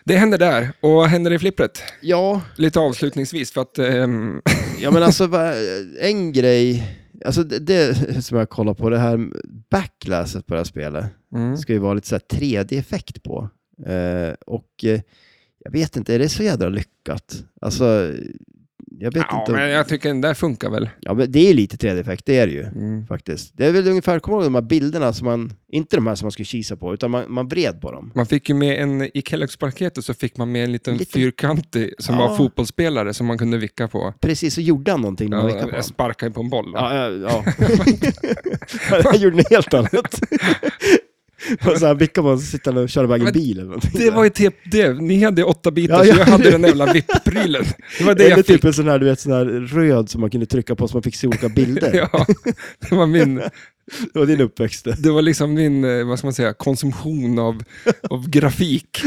Det händer där. Och vad händer i flippret? Ja, Lite avslutningsvis för att... ehm, ja men alltså va- en grej. Alltså det, det som jag kollar på, det här backlasset på det här spelet. mm. ska ju vara lite så här 3D-effekt på. Eh, och eh, jag vet inte, är det så jädra lyckat? Alltså, jag vet Ja, inte. Om, men jag tycker den där funkar väl. ja, men det är lite 3D-effekt, det är det ju. Mm. Faktiskt. Det är väl ungefär, kommer du ihåg de här bilderna som man, inte de här som man skulle kisa på, utan man, man vred på dem. Man fick ju med en, i Kellogg's-paketet så fick man med en liten Lite- fyrkantig som Ja. var fotbollsspelare som man kunde vicka på. Precis, så gjorde han någonting när Ja, man vickade på jag dem. sparkade på en boll. Ja, ja, ja. han gjorde något helt annat. och så här vickade man och så sitter han och kör iväg en Men bil eller någonting. Det var ju typ det. Ni hade åtta bitar, Ja, ja. så jag hade den jävla VIP-prylen. Det var det Eller jag fick. typ en sån här, du vet, sån här röd som man kunde trycka på så man fick se olika bilder. Ja, det var min, Det var din uppväxt. det. det var liksom min, eh, vad ska man säga, konsumtion av, av grafik.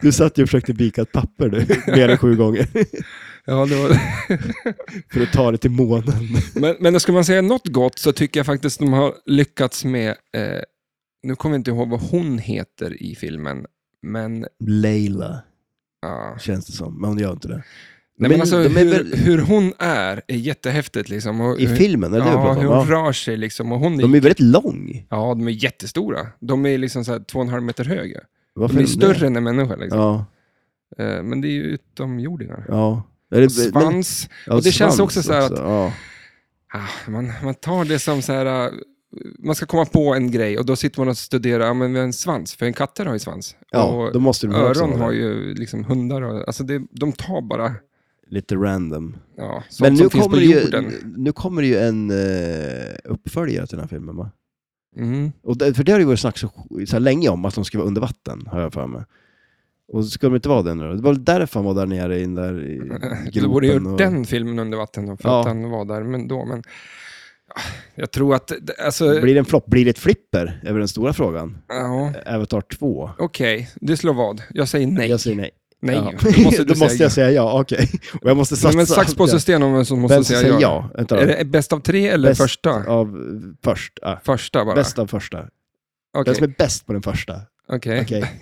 Du satt ju och försökte vika ett papper du, mer än sju gånger. Ja, det var, För att ta det till månen. men, men ska man säga något gott så tycker jag faktiskt de har lyckats med, eh, nu kommer jag inte ihåg vad hon heter i filmen, men Leila, ja. känns det som. Men hon gör inte det. Nej, Men men alltså, de är hur, väl- hur hon är är jättehäftigt. Liksom. Och, I hur- filmen, eller Ja, hur? hur Ja. hon rör sig liksom. Och hon är, De är väldigt lång. Ja, de är jättestora. De är liksom så här två och en halv meter höga. Varför De är det? större än en människa. Liksom. Ja, Eh, Men det är ju utomjordingar. ja. Eller- men- Svans. ja, och det känns svans också så här Ja. Ah, man, man tar det som så här... eh, Man ska komma på en grej och då sitter man och studerar, ja, men vi har en svans, för en katter har ju svans. ja, och då måste de också öron ha har det. ju liksom hundar, och, alltså det, de tar bara Lite random. ja, sånt Men som nu finns kommer, på det ju, jorden. nu kommer det ju en eh, uppföljare till den här filmen va? Mm. Och det, för det har ju varit snack så, så här länge om att de ska vara under vatten, har jag för mig. Och så ska de inte vara det nu då. Det var väl därför han var där nere i den där i gropen. Du borde gjort och, den filmen under vatten då, för Ja. att han var där men då. Men, ah, jag tror att, det- alltså, Blir det en flopp? Blir det ett flipper? Är väl den stora frågan. ja, Avatar 2. okej, du slår vad. Jag säger nej. Jag säger nej. nej, Ja. då måste du Då måste säga jag säga ja, okej. Och jag måste ja. satsa. Nej, Men sax, påse, sten om vem som måste Vem som säga säger ja. ja? Vänta då. Är det bäst av tre eller Bäst första? Av först. Ja. Första bara? Bäst av första. Okej. Den som är bäst på den första. okej. Okej.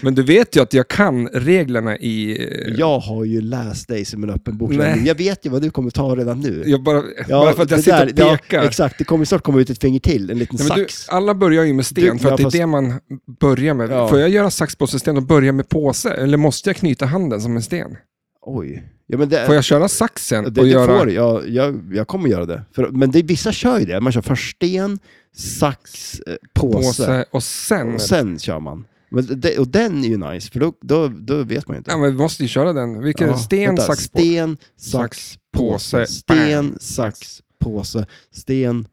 Men du vet ju att jag kan reglerna i... eh, Jag har ju läst dig som en öppen bok. Nej. Jag vet ju vad du kommer ta redan nu. Jag bara, bara för att jag det sitter och där, pekar. Ja, exakt, det kommer snart komma ut ett finger till, en liten Nej, men du, sax. alla börjar ju med sten, Du- för ja, att det är fast- det man börjar med. Ja. Får jag göra sax, påse, sten och börja med påse? Eller måste jag knyta handen som en sten? Oj. Ja, men det, Får jag köra saxen det, och det göra... får du. jag, jag, jag kommer göra det. För, men det, vissa kör ju det. Man kör först sten, sax, eh, påse. påse och sen... Och sen kör man. Men det, och den är ju nice, för då, då, då vet man ju inte. Ja, men vi måste ju köra den. Vilken Ja, sten, vänta. sax, påse. sten, sax, sax, påse. påse. Sten, sax, påse. Sten.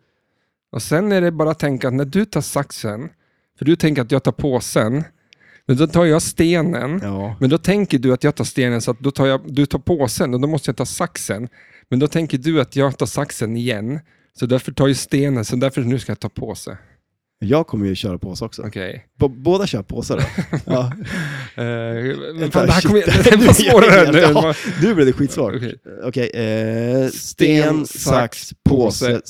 Och sen är det bara att tänka att när du tar saxen, för du tänker att jag tar påsen, men då tar jag stenen. Ja. Men då tänker du att jag tar stenen, så att då tar jag, du tar påsen och då måste jag ta saxen. Men då tänker du att jag tar saxen igen, så därför tar jag stenen, så därför nu ska jag ta påse. Jag kommer ju köra påse också. Okej. B- båda kör påse då. ja. Okay. Uh, Vänta, det här shit. kommer det var svårare nu. Ja, nu blev det skitsvårt. Okej. Okej, eh, sten, Sten, sax, sax, påse. påse.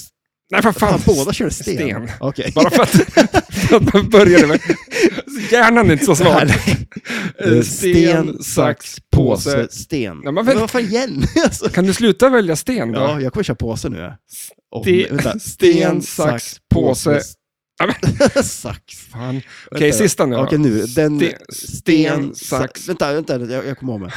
Nej, för fan. Fan, båda körde sten. Sten. Okej. Bara för att, för att man började med... Hjärnan är inte så svag. Eh, Eh, Sten, sax, påse. sten. Ja, men men, väl- vad fan igen? alltså. Kan du sluta välja sten då? Ja, jag kommer köra påse nu. Oh, Ste- vänta. sten, sax, påse. Ja, sax. Fan. Okej, Vänta. sista nu då. Okej, nu. Den, Ste- sten, sa- sax. Vänta, vänta, jag, jag kommer ihåg mig.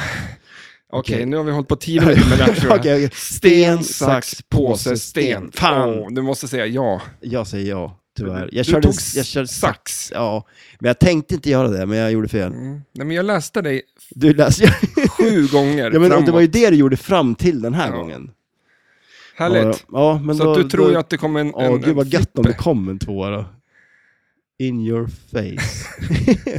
Okej, okej. nu har vi hållit på tio minuter med det här tror jag. Okej, okej. Sten, sax, påse, sten. Fan, Åh, du måste säga ja. jag säger ja, tyvärr. Jag Du körde, tog s- jag körde sax. Ja, men jag tänkte inte göra det, men jag gjorde fel. Mm. Nej, men jag läste dig Du läste... sju gånger Ja, men och framåt. det var ju det du gjorde fram till den här Ja. gången. Härligt. Ja, ja, men Så då, att du tror då, ju att det kommer en... Ja, en, gud vad en gött om det flippe. kom en tvåa då. In your face.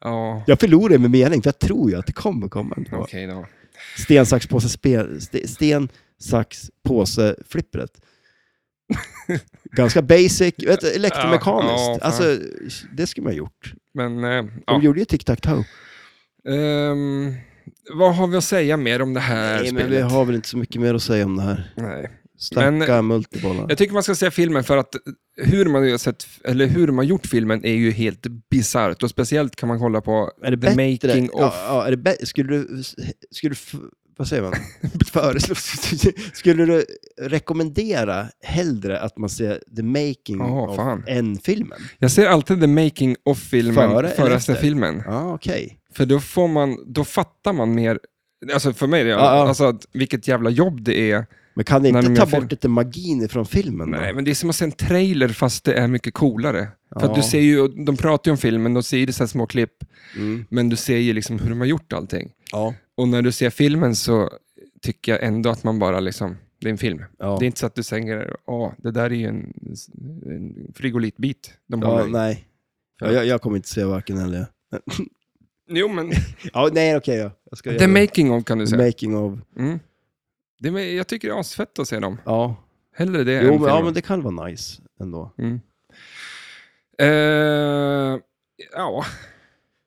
Ja, jag förlorade med mening, för jag tror ju att det kommer komma en tvåa. okej då. Sten, sax, påse, spel, ste, sten, sax, påse, flippret. Ganska basic, vet, du, elektromekaniskt. Ja, ja, fan. alltså, det skulle man ha gjort. Men, eh, De ja. gjorde ju tic-tac-toe. Ehm, vad har vi att säga mer om det här Nej, men spelet? vi har väl inte så mycket mer att säga om det här. Nej. Stacka Men- multibollar. Jag tycker man ska se filmen för att hur man, har sett, eller hur man har gjort filmen är ju helt bisarrt. Och speciellt kan man kolla på Är det the making ja, of. ja, är det bä- skulle du... Skulle du f- vad säger man? Föreslå? skulle du rekommendera hellre att man ser the making Ja, of fan. än filmen? Jag ser alltid the making of filmen Före före eller resten av efter? filmen. Ja, Ah, okej. För då, får man, då fattar man mer Alltså för mig, är det, Ja, ja. alltså att, vilket jävla jobb det är. Men kan det Nej, inte men ta jag fel. bort lite magin från filmen? då? Nej, men det är som att se en trailer fast det är mycket coolare. För att du Ja. ser ju, de pratar ju om filmen, de ser ju så här små klipp, Mm. men du ser ju liksom hur de har gjort allting. Ja. Och när du ser filmen så tycker jag ändå att man bara liksom, det är en film. Ja. Det är inte så att du säger, ja, det där är ju en, en frigolitbit de Ja, håller i. nej. Ja, jag, jag kommer inte se varken eller. Jo, men Ja, nej, okej då. Jag ska the göra det. making of kan du The säga. making of. Mm. Det, är- jag tycker det är asfett att se dem. Ja. Hellre det Jo, än men, ja, filmen. men det kan vara nice ändå. Mm. Eh, ja.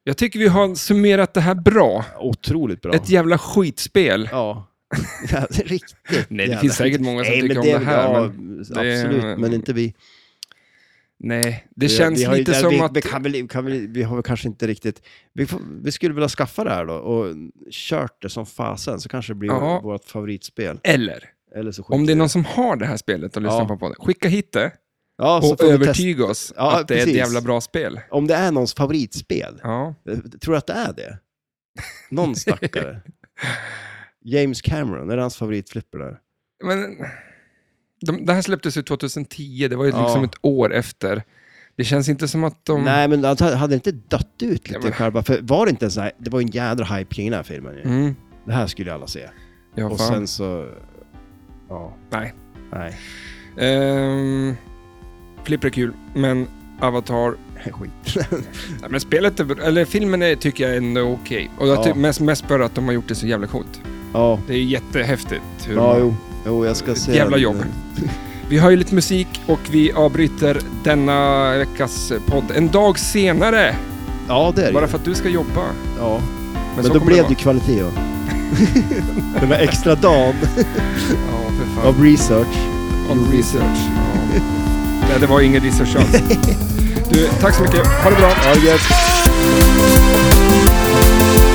Jag tycker vi har summerat det här bra. Otroligt bra. Ett jävla skitspel. Ja. Ja, det är Riktigt. Nej, det jävla finns skit. säkert många som Nej, tycker men om det det är- här. Ja, Men absolut, det är- men inte vi. nej, det Vi- känns vi har ju- lite ja, som vi, att... Vi, kan väl, kan väl, vi har väl kanske inte riktigt... Vi, får, vi skulle vilja skaffa det här då och kört det som fasen, så kanske det blir Ja. vårt favoritspel. Eller, Eller så skiter om det är vi. någon som har det här spelet och lyssnar Ja. på podden, skicka hit det ja, så och får vi testa. övertyga oss Ja, att det är ett precis. jävla bra spel. Om det är någons favoritspel, Ja. jag tror du att det är det? Någon stackare? James Cameron, är det hans favoritflipper Mm. där? Men, de, det här släpptes ju 2010, det var ju Ja. liksom ett år efter. Det känns inte som att de... Nej, men han hade inte dött ut lite Ja, men- själva, för var det inte så här, det var en jädra hype kring den här filmen ju. Mm, Det här skulle ju alla se. ja, Och fan. sen så... Ja, Nej. nej. Um, Flipper är kul, men Avatar... Skit. Nej, men spelet, är, eller filmen är, tycker jag ändå är okej. Och jag Ja. tycker mest, mest för att de har gjort det så jävla coolt. ja, Det är jättehäftigt. Hur ja man- jo. jo, jag ska Ett se... jävla den. jobb. Vi har ju lite musik och vi avbryter denna veckas podd en dag senare. Ja, det är det Bara ju. för att du ska jobba. Men, Ja. Men, så då kommer blev det vara. ju kvalitet då. Den där extra dagen Ja, för fan. av research. Av research. Ja. Nej, det var ingen research alls. Du, tack så mycket. Ha det bra. Ja, det är gött.